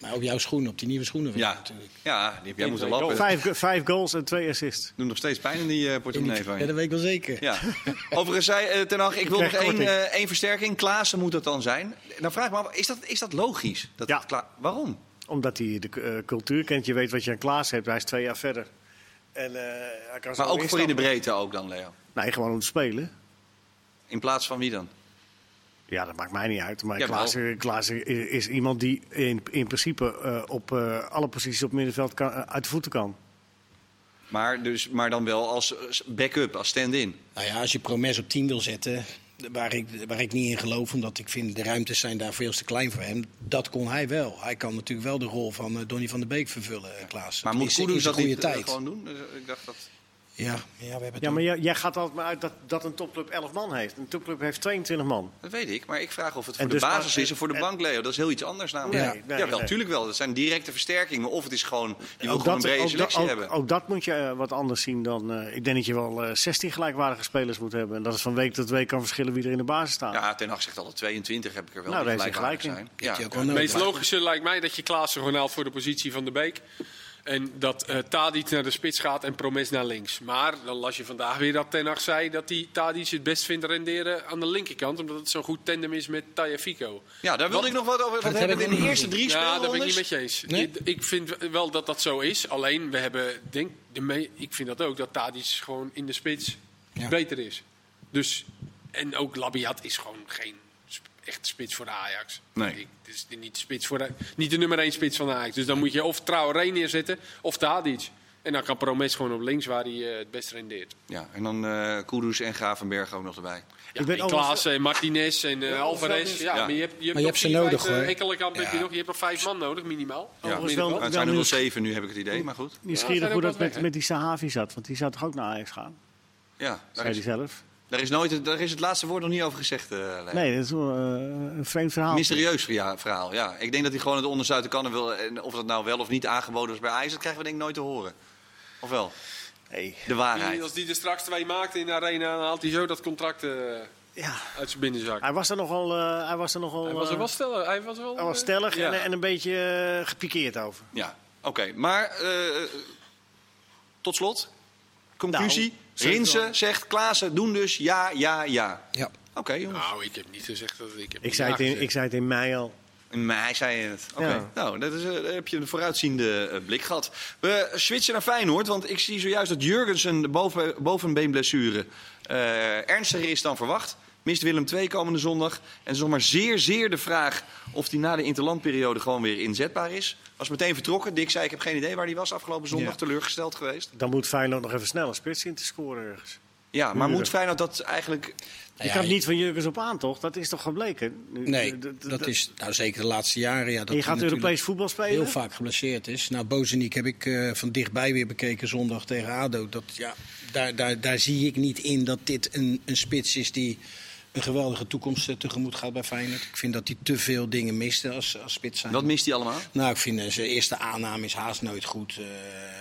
Speaker 3: Maar op jouw schoenen, op die nieuwe schoenen. vind ik
Speaker 1: Ja.
Speaker 3: natuurlijk.
Speaker 1: ja, die heb jij moeten
Speaker 4: twee
Speaker 1: lappen.
Speaker 2: Vijf, go- vijf goals en twee assists.
Speaker 1: Doet nog steeds pijn in die eh, portemonnee van
Speaker 3: Ja,
Speaker 1: je.
Speaker 3: dat weet ik wel zeker.
Speaker 1: Ja. Overigens zei eh, Ten Hag, ik wil nog
Speaker 2: krijg
Speaker 1: één,
Speaker 2: korting.
Speaker 1: eh, één versterking. Klaassen moet dat dan zijn. Dan vraag ik me af, is dat, is dat logisch? Dat
Speaker 2: Ja.
Speaker 1: Kla- Waarom?
Speaker 2: Omdat hij de eh, cultuur kent. Je weet wat je aan Klaas hebt. Hij is twee jaar verder. En, eh, hij kan zo
Speaker 1: Maar ook voor in de
Speaker 2: instappen.
Speaker 1: breedte ook dan, Leo.
Speaker 2: Nee, gewoon om te spelen.
Speaker 1: In plaats van wie dan?
Speaker 2: Ja, dat maakt mij niet uit. Maar
Speaker 1: Jawel.
Speaker 2: Klaas, Klaas is iemand die in, in principe eh, op eh, alle posities op het middenveld kan, eh, uit de voeten kan.
Speaker 1: Maar, dus, maar dan wel als eh, backup, als stand-in.
Speaker 3: Nou ja, als je Promes op 10 wil zetten, waar ik, waar ik niet in geloof, omdat ik vind de ruimtes zijn daar veel te klein voor hem. Dat kon hij wel. Hij kan natuurlijk wel de rol van eh, Donny van der Beek vervullen, eh, Klaas.
Speaker 1: Maar
Speaker 3: Het
Speaker 1: moet
Speaker 3: is- is
Speaker 1: Kudus
Speaker 3: een
Speaker 1: dat
Speaker 3: goede
Speaker 1: niet eh,
Speaker 3: tijd.
Speaker 1: gewoon doen? Dus ik dacht dat...
Speaker 3: Ja, ja, we hebben
Speaker 2: Ja, maar jij, jij gaat altijd maar uit dat, dat een topclub 11 man heeft. Een topclub heeft 22 man.
Speaker 1: Dat weet ik, maar ik vraag of het voor
Speaker 2: En
Speaker 1: de
Speaker 2: dus-
Speaker 1: basis is of voor de
Speaker 2: en-
Speaker 1: bank, Leo. Dat is heel iets anders namelijk.
Speaker 3: Ja.
Speaker 1: Ja,
Speaker 2: Nee, nee,
Speaker 1: Jawel,
Speaker 2: nee.
Speaker 1: tuurlijk wel. Dat zijn directe versterkingen. Of het is gewoon, je wil
Speaker 2: Ook
Speaker 1: gewoon een
Speaker 2: dat,
Speaker 1: brede
Speaker 2: ook, dat-
Speaker 1: selectie
Speaker 2: ook-
Speaker 1: hebben.
Speaker 2: ook dat moet je eh, wat anders zien dan. eh, ik denk dat je wel eh, 16 gelijkwaardige spelers moet hebben. En dat is van week tot week kan verschillen wie er in de basis staat.
Speaker 1: Ja, Ten Hag zegt al 22 heb ik er wel
Speaker 2: Nou,
Speaker 1: nou,
Speaker 2: daar heeft hij
Speaker 1: gelijk
Speaker 2: gelijk
Speaker 1: zijn.
Speaker 2: in.
Speaker 1: Ja.
Speaker 3: Heeft hij ook wel
Speaker 4: Het
Speaker 3: nodig.
Speaker 4: meest logische lijkt mij dat je Klaassen gewoon haalt voor de positie van de Beek. En dat eh Tadic naar de spits gaat en Promes naar links. Maar dan las je vandaag weer dat Ten Hag zei dat hij Tadic het best vindt renderen aan de linkerkant. Omdat het zo'n goed tandem is met Taya Fico.
Speaker 1: ja, daar wilde ik nog wat over wat
Speaker 3: heb
Speaker 1: hebben.
Speaker 3: ik
Speaker 1: In de eerste drie
Speaker 4: Ja, daar ben ik niet
Speaker 1: speelrondes.
Speaker 4: met je eens.
Speaker 3: Nee?
Speaker 4: Ik, ik vind wel dat dat zo is. Alleen, we hebben, denk, de me- ik vind dat ook, dat Tadic gewoon in de spits
Speaker 3: Ja.
Speaker 4: beter is. Dus, en ook Labiat is gewoon geen sp- echte spits voor de Ajax.
Speaker 1: Nee.
Speaker 4: Ik- Het is niet de, spits voor de, niet de nummer 1 spits van de Ajax. Dus dan moet je of Traoré neerzetten of Tadic. En dan kan Promes gewoon op links waar hij eh, het best rendeert.
Speaker 1: Ja, en dan eh Kudus en Gravenberg ook nog erbij.
Speaker 4: Ja,
Speaker 2: ben
Speaker 4: en
Speaker 2: overigens-
Speaker 4: Klaassen, en Martinez en eh, Alvarez. Ja,
Speaker 1: Ja.
Speaker 4: Maar je hebt, je hebt,
Speaker 3: Maar je hebt ze nodig, hoor.
Speaker 4: Ekkelenkamp eh, heb je
Speaker 3: Ja.
Speaker 4: nog. Je hebt nog vijf man nodig, minimaal.
Speaker 1: Ja.
Speaker 2: Overigens wel-
Speaker 1: Nou, het zijn er wel zeven nu, heb ik het idee. Maar goed,
Speaker 4: Ja,
Speaker 2: Nieuwsgierig
Speaker 4: zijn
Speaker 2: hoe
Speaker 4: ook
Speaker 2: dat
Speaker 4: wat weg,
Speaker 2: met,
Speaker 4: hè?
Speaker 2: met die Sahavi zat. Want die zou toch ook naar Ajax gaan?
Speaker 1: ja, daar
Speaker 2: Zei hij
Speaker 1: is,
Speaker 2: zelf.
Speaker 1: daar is, nooit, daar is het laatste woord nog niet over gezegd, eh, Leo.
Speaker 2: Nee, dat is wel, eh, een vreemd verhaal.
Speaker 1: Mysterieus via- verhaal, ja. Ik denk dat hij gewoon het onderzuiten kan en wil. En of dat nou wel of niet aangeboden is bij IJs, dat krijgen we denk ik nooit te horen. Of wel?
Speaker 2: Nee.
Speaker 1: De waarheid.
Speaker 4: Als die er straks twee maakt in de arena, dan haalt hij zo dat contract eh,
Speaker 2: Ja.
Speaker 4: uit zijn binnenzak.
Speaker 2: Hij was er nogal. eh, hij was er nogal.
Speaker 4: hij was er
Speaker 2: eh,
Speaker 4: wel stellig. Hij was wel,
Speaker 2: hij was
Speaker 4: eh,
Speaker 2: stellig
Speaker 4: ja.
Speaker 2: en, en een beetje eh, gepikeerd over.
Speaker 1: Ja, oké. Maar eh, eh, tot slot, conclusie.
Speaker 2: Nou, zeg
Speaker 1: Rinsen
Speaker 2: wel.
Speaker 1: zegt Klaassen, doen dus ja, ja, ja.
Speaker 3: Ja.
Speaker 1: Oké, jongens.
Speaker 4: Nou, ik heb niet gezegd dat ik heb
Speaker 2: Ik zei, het in,
Speaker 4: gezegd.
Speaker 2: ik zei het in mei al.
Speaker 1: Maar hij zei het. Oké.
Speaker 2: Ja.
Speaker 1: Nou, dat is, eh, daar heb je een vooruitziende eh, blik gehad. We switchen naar Feyenoord, want ik zie zojuist dat Jurgensen de boven, bovenbeenblessure eh, ernstiger is dan verwacht. Mist Willem II komende zondag. En het is nog maar zeer, zeer de vraag of hij na de interlandperiode gewoon weer inzetbaar is. Was meteen vertrokken. Dick zei, ik heb geen idee waar hij was afgelopen zondag.
Speaker 2: Ja.
Speaker 1: Teleurgesteld geweest.
Speaker 2: Dan moet Feyenoord nog even snel een spits in te scoren ergens.
Speaker 1: Ja, maar
Speaker 2: Huren.
Speaker 1: moet Feyenoord dat eigenlijk...
Speaker 2: Je
Speaker 3: Nou ja,
Speaker 2: kan het niet van Jurgens op aan, toch? Dat is toch gebleken? Nu-
Speaker 3: Nee,
Speaker 2: d- d-
Speaker 3: dat
Speaker 2: d-
Speaker 3: is nou zeker de laatste jaren. Ja, dat
Speaker 2: en je
Speaker 3: hij
Speaker 2: gaat
Speaker 3: natuurlijk
Speaker 2: Europees voetbal spelen?
Speaker 3: Heel vaak geblesseerd is. Nou, Bozeniek heb ik eh, van dichtbij weer bekeken zondag tegen ADO. Dat, ja, daar, daar, daar zie ik niet in dat dit een, een spits is die een geweldige toekomst eh, tegemoet gaat bij Feyenoord. Ik vind dat hij te veel dingen miste als, als spits zijn.
Speaker 1: Wat mist hij allemaal?
Speaker 3: Nou, ik vind eh, zijn eerste aanname is haast nooit goed. Eh,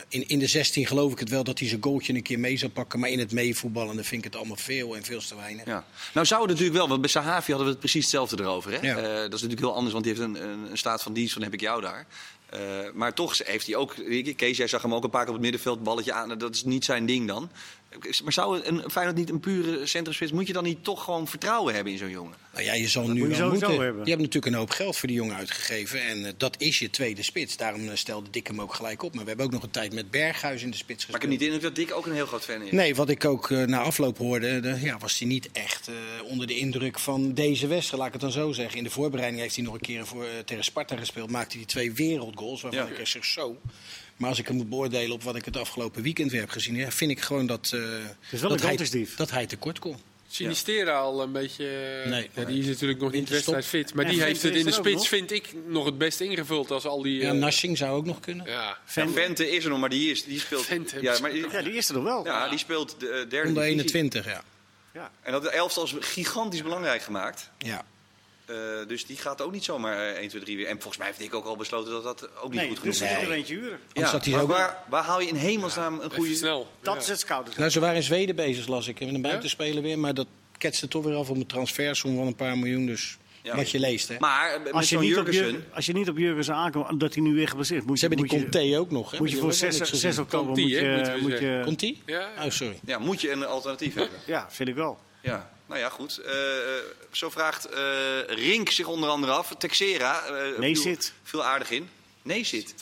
Speaker 3: in, in de 16 geloof ik het wel dat hij zijn goaltje een keer mee zou pakken. Maar in het meevoetballen dan vind ik het allemaal veel en veel te weinig.
Speaker 1: Ja. Nou zou het natuurlijk wel, want bij Sahavi hadden we het precies hetzelfde erover. Hè?
Speaker 3: Ja.
Speaker 1: Eh, dat is natuurlijk heel anders, want die heeft een, een, een staat van dienst van heb ik jou daar. Eh, maar toch heeft hij ook, Kees, jij zag hem ook een paar keer op het middenveld, balletje aan. Dat is niet zijn ding dan. Maar zou een Feyenoord niet een pure centrumspits, moet je dan niet toch gewoon vertrouwen hebben in zo'n jongen?
Speaker 3: Nou ja, je zal nu
Speaker 2: moet je
Speaker 3: wel
Speaker 2: sowieso
Speaker 3: moeten.
Speaker 2: hebben.
Speaker 3: Je hebt natuurlijk een hoop geld voor die jongen uitgegeven. En eh, dat is je tweede spits. Daarom eh, stelde Dick hem ook gelijk op. Maar we hebben ook nog een tijd met Berghuis in de spits
Speaker 1: Maar ik
Speaker 3: gespeeld.
Speaker 1: heb niet in dat Dick ook een heel groot fan is.
Speaker 3: Nee, wat ik ook eh, na afloop hoorde, de- ja, was hij niet echt eh, onder de indruk van deze wedstrijd. Laat ik het dan zo zeggen. In de voorbereiding heeft hij nog een keer voor, eh, tegen Sparta gespeeld. Maakte hij twee wereldgoals, waarvan
Speaker 1: Ja.
Speaker 3: ik er zeg zo. Maar als ik hem moet beoordelen op wat ik het afgelopen weekend weer heb gezien, ja, vind ik gewoon dat, eh,
Speaker 2: is wel
Speaker 3: dat,
Speaker 2: een
Speaker 3: hij,
Speaker 2: grootesdief.
Speaker 3: dat hij tekort komt.
Speaker 4: Sinistera al een beetje... eh,
Speaker 3: Nee.
Speaker 4: ja, die is natuurlijk nog niet
Speaker 3: Winterstop.
Speaker 4: wedstrijd fit. Maar
Speaker 2: En
Speaker 4: die
Speaker 2: Gent
Speaker 4: heeft het
Speaker 2: is
Speaker 4: in de
Speaker 2: er ook
Speaker 4: spits,
Speaker 2: nog.
Speaker 4: vind ik, nog het best ingevuld als al die...
Speaker 3: Ja,
Speaker 4: eh,
Speaker 3: Narsing zou ook nog kunnen.
Speaker 4: ja.
Speaker 1: Ja, Nou, Vente is er nog, maar die, is, die speelt...
Speaker 4: Vente
Speaker 1: ja,
Speaker 4: is-
Speaker 1: maar, die-
Speaker 2: Ja, die is er nog wel.
Speaker 1: ja, die speelt de eh, derde
Speaker 3: Onder
Speaker 1: divisie.
Speaker 3: 21, ja.
Speaker 2: Ja.
Speaker 1: En dat de elftal is gigantisch belangrijk gemaakt.
Speaker 3: ja.
Speaker 1: Eh, dus die gaat ook niet zomaar eh, 1, 2, 3 weer. En volgens mij heeft ik ook al besloten dat dat ook niet
Speaker 2: Nee,
Speaker 1: goed genoeg
Speaker 2: dus ze
Speaker 1: is.
Speaker 2: moeten er eentje huren.
Speaker 1: Ja,
Speaker 3: Anders had hij
Speaker 1: maar
Speaker 3: ook-
Speaker 1: waar, waar haal je in hemelsnaam een
Speaker 4: Even
Speaker 1: goede...
Speaker 4: snel.
Speaker 2: Dat
Speaker 4: Ja.
Speaker 2: is het scouten.
Speaker 3: Nou, ze waren in Zweden bezig, las ik. Met een buitenspeler weer. Maar dat ketste toch weer af op een transfersom van een paar miljoen. Dus
Speaker 1: Ja.
Speaker 3: wat je leest, hè.
Speaker 1: Maar eh, met
Speaker 2: Als je,
Speaker 1: zo'n
Speaker 2: niet op
Speaker 1: Jurgensen...
Speaker 2: Jurgen, als je niet op Jurgens aankomt, omdat hij nu weer geblesseerd is, moet
Speaker 3: ze
Speaker 2: je,
Speaker 3: hebben
Speaker 2: moet
Speaker 3: die
Speaker 2: je,
Speaker 3: Conté ook nog, hè.
Speaker 2: moet je voor 6,
Speaker 3: 6
Speaker 2: 6 oktober
Speaker 4: Conti,
Speaker 2: moet
Speaker 4: hè, moeten
Speaker 2: je,
Speaker 4: we
Speaker 2: moet je...
Speaker 3: Conti?
Speaker 4: Ja.
Speaker 3: Oh, sorry.
Speaker 1: Ja, moet je een alternatief hebben.
Speaker 2: Ja, vind ik wel.
Speaker 1: Ja. Nou ja, goed. Eh, eh, zo vraagt eh, Rink zich onder andere af. Texera eh, viel,
Speaker 2: zit.
Speaker 1: viel aardig in. Nee, zit.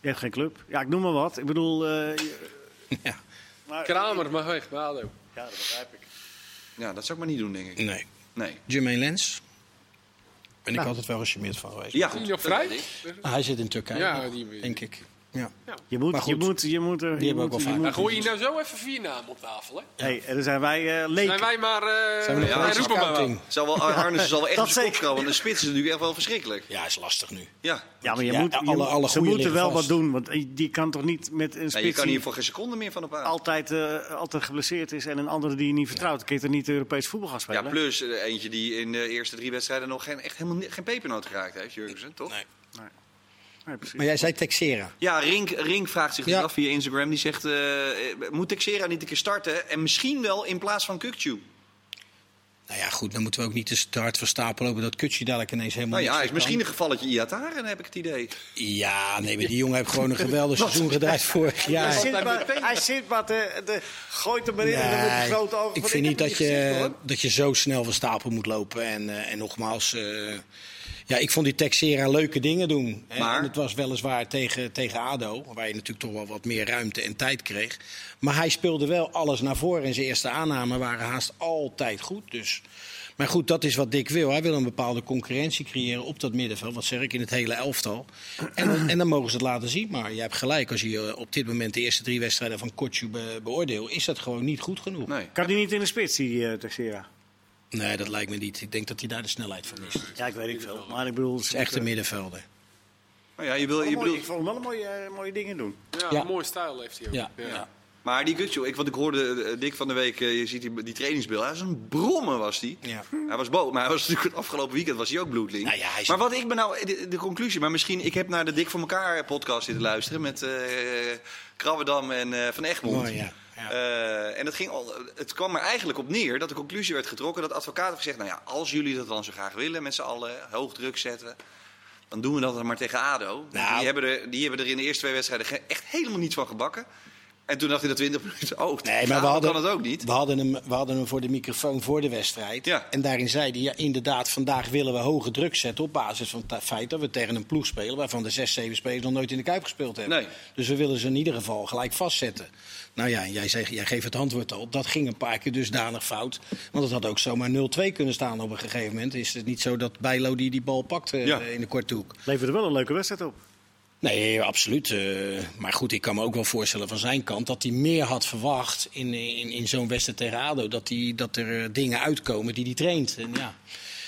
Speaker 2: Je hebt geen club. Ja, ik noem maar wat. Ik bedoel... eh, je-
Speaker 3: Ja.
Speaker 2: maar-
Speaker 4: Kramer mag weg, bij ADO.
Speaker 2: Ja, dat begrijp ik.
Speaker 1: Ja, dat zou ik maar niet doen, denk ik.
Speaker 3: Nee.
Speaker 1: Nee.
Speaker 3: Jermaine Lens. Ben ik
Speaker 2: Nou.
Speaker 3: altijd wel gecharmeerd van geweest. Ah,
Speaker 1: Ja,
Speaker 4: Is
Speaker 1: goed. Eh,
Speaker 4: die nog
Speaker 1: dat
Speaker 4: vrij?
Speaker 1: weet ik.
Speaker 3: Hij zit in Turkije,
Speaker 4: Ja,
Speaker 3: nog,
Speaker 4: die-
Speaker 3: denk ik. Ja.
Speaker 2: Je moet,
Speaker 3: Maar
Speaker 2: je
Speaker 3: goed.
Speaker 2: moet, je moet, er-
Speaker 3: Die
Speaker 2: je
Speaker 3: hebben we
Speaker 2: moet,
Speaker 3: ook
Speaker 2: je
Speaker 3: wel
Speaker 2: moet.
Speaker 4: Dan gooi je nou zo even vier namen op tafel, hè?
Speaker 2: Hey, en dan zijn wij eh
Speaker 4: Zijn
Speaker 2: leken.
Speaker 4: wij maar... eh
Speaker 3: Zijn we nog
Speaker 4: ja,
Speaker 3: gelijk
Speaker 4: roep hem maar wel.
Speaker 3: scouting?
Speaker 1: Zal wel, Harnissen zal wel echt
Speaker 2: dat
Speaker 1: op zijn kop
Speaker 2: zeker.
Speaker 1: krabben. Want een spits is natuurlijk echt wel verschrikkelijk.
Speaker 3: Ja, is lastig nu.
Speaker 1: Ja.
Speaker 2: Ja, maar je
Speaker 3: Ja,
Speaker 2: moet, je
Speaker 3: alle-
Speaker 2: moet-
Speaker 3: alle
Speaker 2: ze
Speaker 3: goeien
Speaker 2: moeten
Speaker 3: liggen
Speaker 2: wel
Speaker 3: vast.
Speaker 2: wat doen. Want eh, die kan toch niet met een
Speaker 1: Nee, je
Speaker 2: spits
Speaker 1: kan
Speaker 2: die
Speaker 1: hier voor geen seconde meer van op aan.
Speaker 2: altijd, eh, altijd geblesseerd is en een andere die je niet vertrouwt. Dan kun je toch niet Europees voetbal gaan
Speaker 1: Ja,
Speaker 2: spelen?
Speaker 1: plus eh, eentje die in de eerste drie wedstrijden nog geen, echt helemaal ni- geen pepernoot geraakt heeft, Jurgensen, toch?
Speaker 3: Nee.
Speaker 2: Nee, precies.
Speaker 3: Maar jij zei Texera.
Speaker 1: Ja, Rink, Rink vraagt zich dat
Speaker 3: Ja.
Speaker 1: af via Instagram. Die zegt, eh, eh, moet Texera niet een keer starten? En misschien wel in plaats van Kukcu.
Speaker 3: Nou ja, goed, dan moeten we ook niet te hard van stapel lopen dat Kutje dadelijk ineens helemaal
Speaker 1: Nou ja,
Speaker 3: niks
Speaker 1: hij is
Speaker 3: meer
Speaker 1: misschien
Speaker 3: kan.
Speaker 1: een gevalletje Iataren, heb ik het idee.
Speaker 3: Ja, nee, maar die jongen heeft gewoon een geweldig seizoen gedraaid vorig
Speaker 2: Hij
Speaker 3: jaar.
Speaker 2: zit maar, hij zit maar te, te- gooit hem erin en dan met die
Speaker 3: Nee,
Speaker 2: grote ogen.
Speaker 3: ik
Speaker 2: van,
Speaker 3: vind niet
Speaker 2: heb
Speaker 3: dat
Speaker 2: hem gezien,
Speaker 3: je,
Speaker 2: hoor.
Speaker 3: dat je zo snel van stapel moet lopen. En, eh, en nogmaals, eh, ja, ik vond die Texera leuke dingen doen. hè.
Speaker 1: Maar?
Speaker 3: En het was weliswaar tegen, tegen ADO, waar je natuurlijk toch wel wat meer ruimte en tijd kreeg. Maar hij speelde wel alles naar voren en zijn eerste aannamen waren haast altijd goed. Dus. Maar goed, dat is wat Dick wil. Hij wil een bepaalde concurrentie creëren op dat middenveld. Wat zeg ik, in het hele elftal. En, dan- en dan mogen ze het laten zien. Maar je hebt gelijk, als je eh, op dit moment de eerste drie wedstrijden van Kotju be- beoordeelt... is dat gewoon niet goed genoeg.
Speaker 1: Nee.
Speaker 2: Kan die niet in de spits, die eh Texera?
Speaker 3: Nee, dat lijkt me niet. Ik denk dat hij daar de snelheid van mist. Het
Speaker 2: Ja, ik weet niet veel. Maar ik bedoel, het
Speaker 3: is echt een middenvelder.
Speaker 1: Maar Nou ja, je wil, je
Speaker 2: Mooi, ik
Speaker 1: bedoelt,
Speaker 2: vond hem wel een mooie, eh, mooie dingen doen.
Speaker 4: Ja,
Speaker 3: Ja.
Speaker 4: een mooie stijl heeft hij ook.
Speaker 3: Ja.
Speaker 1: maar die Kukcu, ik, want ik hoorde eh, Dick van de week, eh, je ziet die, die trainingsbeelden. Hij was een brommer, was die.
Speaker 3: Ja.
Speaker 1: Hij was boos, maar hij was natuurlijk het afgelopen weekend was hij ook bloedling.
Speaker 3: Nou ja, hij is-
Speaker 1: Maar wat ik ben nou, de, de conclusie, maar misschien, ik heb naar de Dik voor elkaar podcast zitten luisteren met eh Krabbedam en eh, Van Egmond.
Speaker 3: Mooi, ja. Ja.
Speaker 1: Eh, en dat ging al, het kwam er eigenlijk op neer dat de conclusie werd getrokken dat advocaat heeft gezegd, nou ja, als jullie dat dan zo graag willen, met z'n allen hoog druk zetten. Dan doen we dat dan maar tegen ADO. Want
Speaker 3: Nou.
Speaker 1: Die, hebben er, die hebben er in de eerste twee wedstrijden ge- echt helemaal niets van gebakken. En toen dacht hij dat 20 minuten, oh,
Speaker 3: Nee, maar we hadden,
Speaker 1: kan het ook niet.
Speaker 3: We hadden, hem, we hadden hem voor de microfoon voor de wedstrijd.
Speaker 1: Ja.
Speaker 3: En daarin zei hij, ja, inderdaad, vandaag willen we hoge druk zetten... op basis van het feit dat we tegen een ploeg spelen... waarvan de zes, zeven spelers nog nooit in de Kuip gespeeld hebben.
Speaker 1: Nee.
Speaker 3: Dus we willen ze in ieder geval gelijk vastzetten. Nou ja, jij, zegt, jij geeft het antwoord al. Dat ging een paar keer dusdanig fout. Want het had ook zomaar 0-2 kunnen staan op een gegeven moment. Is het niet zo dat Bijlo die die bal pakt eh,
Speaker 1: Ja.
Speaker 3: in de korte hoek?
Speaker 2: Leverde wel een leuke wedstrijd op.
Speaker 3: Nee, absoluut. eh, maar goed, ik kan me ook wel voorstellen van zijn kant dat hij meer had verwacht in, in, in zo'n wedstrijd tegen ADO. Dat, hij, dat er eh, dingen uitkomen die hij traint. En ja,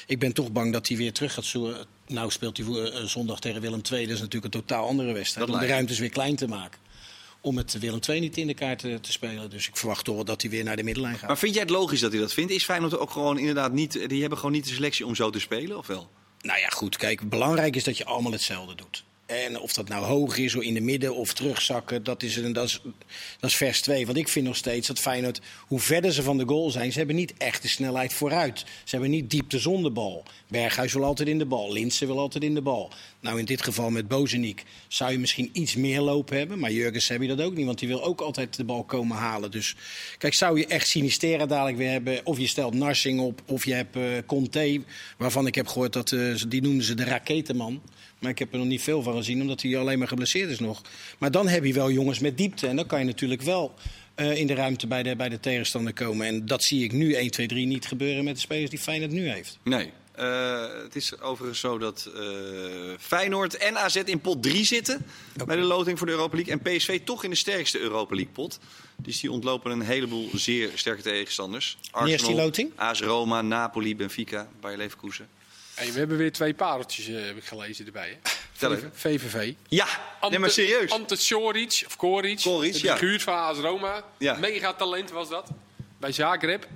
Speaker 3: ik ben toch bang dat hij weer terug gaat zoeken. Nou speelt hij voor- eh, zondag tegen Willem II. Dat is natuurlijk een totaal andere wedstrijd.
Speaker 1: Dat
Speaker 3: om de
Speaker 1: lijkt
Speaker 3: ruimtes weer klein te maken. Om het Willem II niet in de kaart eh, te spelen. Dus ik verwacht toch wel dat hij weer naar de middenlijn gaat.
Speaker 1: Maar vind jij het logisch dat hij dat vindt? Is Feyenoord ook gewoon inderdaad niet... Die hebben gewoon niet de selectie om zo te spelen, of wel?
Speaker 3: Nou ja, goed. Kijk, belangrijk is dat je allemaal hetzelfde doet. En of dat nou hoog is, of in de midden of terugzakken, dat is, een, dat is, dat is vers 2. Want ik vind nog steeds dat Feyenoord, hoe verder ze van de goal zijn, ze hebben niet echt de snelheid vooruit. Ze hebben niet diepte zonder bal. Berghuis wil altijd in de bal, Linsen wil altijd in de bal. Nou, in dit geval met Bozeniek zou je misschien iets meer lopen hebben, maar Jurgens heb je dat ook niet, want die wil ook altijd de bal komen halen. Dus kijk, zou je echt Sinistera dadelijk weer hebben, of je stelt Narsing op, of je hebt eh Conte, waarvan ik heb gehoord dat eh, ze- die noemden ze de raketenman. Maar ik heb er nog niet veel van gezien, omdat hij alleen maar geblesseerd is nog. Maar dan heb je wel jongens met diepte. En dan kan je natuurlijk wel eh, in de ruimte bij de, bij de tegenstander komen. En dat zie ik nu 1, 2, 3 niet gebeuren met de spelers die Feyenoord nu heeft.
Speaker 1: Nee. Eh, het is overigens zo dat eh, Feyenoord en AZ in pot 3 zitten... bij de loting voor de Europa League. En PSV toch in de sterkste Europa League pot. Dus die ontlopen een heleboel zeer sterke tegenstanders.
Speaker 3: Wanneer is die loting?
Speaker 1: AS Roma, Napoli, Benfica, Bayer Leverkusen.
Speaker 4: Hey, we hebben weer twee pareltjes, eh, heb ik gelezen, erbij. Hè?
Speaker 1: Vertel even.
Speaker 4: VVV.
Speaker 1: Ja, nee,
Speaker 4: Ante-
Speaker 1: maar serieus.
Speaker 4: Ante Soric, of Koric.
Speaker 1: Koric,
Speaker 4: de
Speaker 1: ja.
Speaker 4: figuur van AS Roma.
Speaker 1: Ja.
Speaker 4: Mega talent was dat. Bij Zagreb.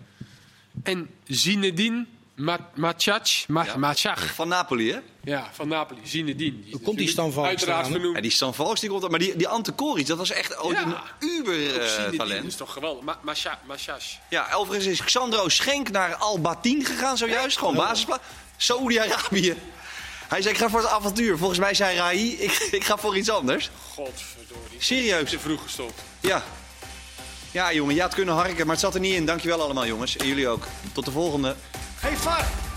Speaker 4: En Zinedine Ma- Machac. Ma
Speaker 1: Ja.
Speaker 4: Machach.
Speaker 1: Van Napoli, hè?
Speaker 4: Ja, van Napoli. Zinedine. Die
Speaker 3: komt
Speaker 4: is
Speaker 3: die
Speaker 4: natuurlijk
Speaker 3: Stan van
Speaker 4: Uiteraard
Speaker 3: Staan, hè?
Speaker 1: Ja,
Speaker 4: vernoemd.
Speaker 1: die Stan Valks, die komt op. Maar die, die Ante Koric, dat was echt ooit
Speaker 4: Ja.
Speaker 1: een eh,
Speaker 4: Zinedine,
Speaker 1: uber-talent.
Speaker 4: Dat is toch geweldig. Ma Macha- Machach.
Speaker 1: Ja, overigens is Xandro Schenk naar Albatien gegaan zojuist. Gewoon basisplaats. Saoedi-Arabië. Hij zei, ik ga voor het avontuur. Volgens mij zei Rai, ik, ik ga voor iets anders.
Speaker 4: Godverdorie.
Speaker 1: Serieus.
Speaker 4: Te vroeg gestopt.
Speaker 1: Ja. Ja, jongen, je had kunnen harken, maar het zat er niet in. Dankjewel allemaal, jongens. En jullie ook. Tot de volgende.
Speaker 2: Hey, VAR!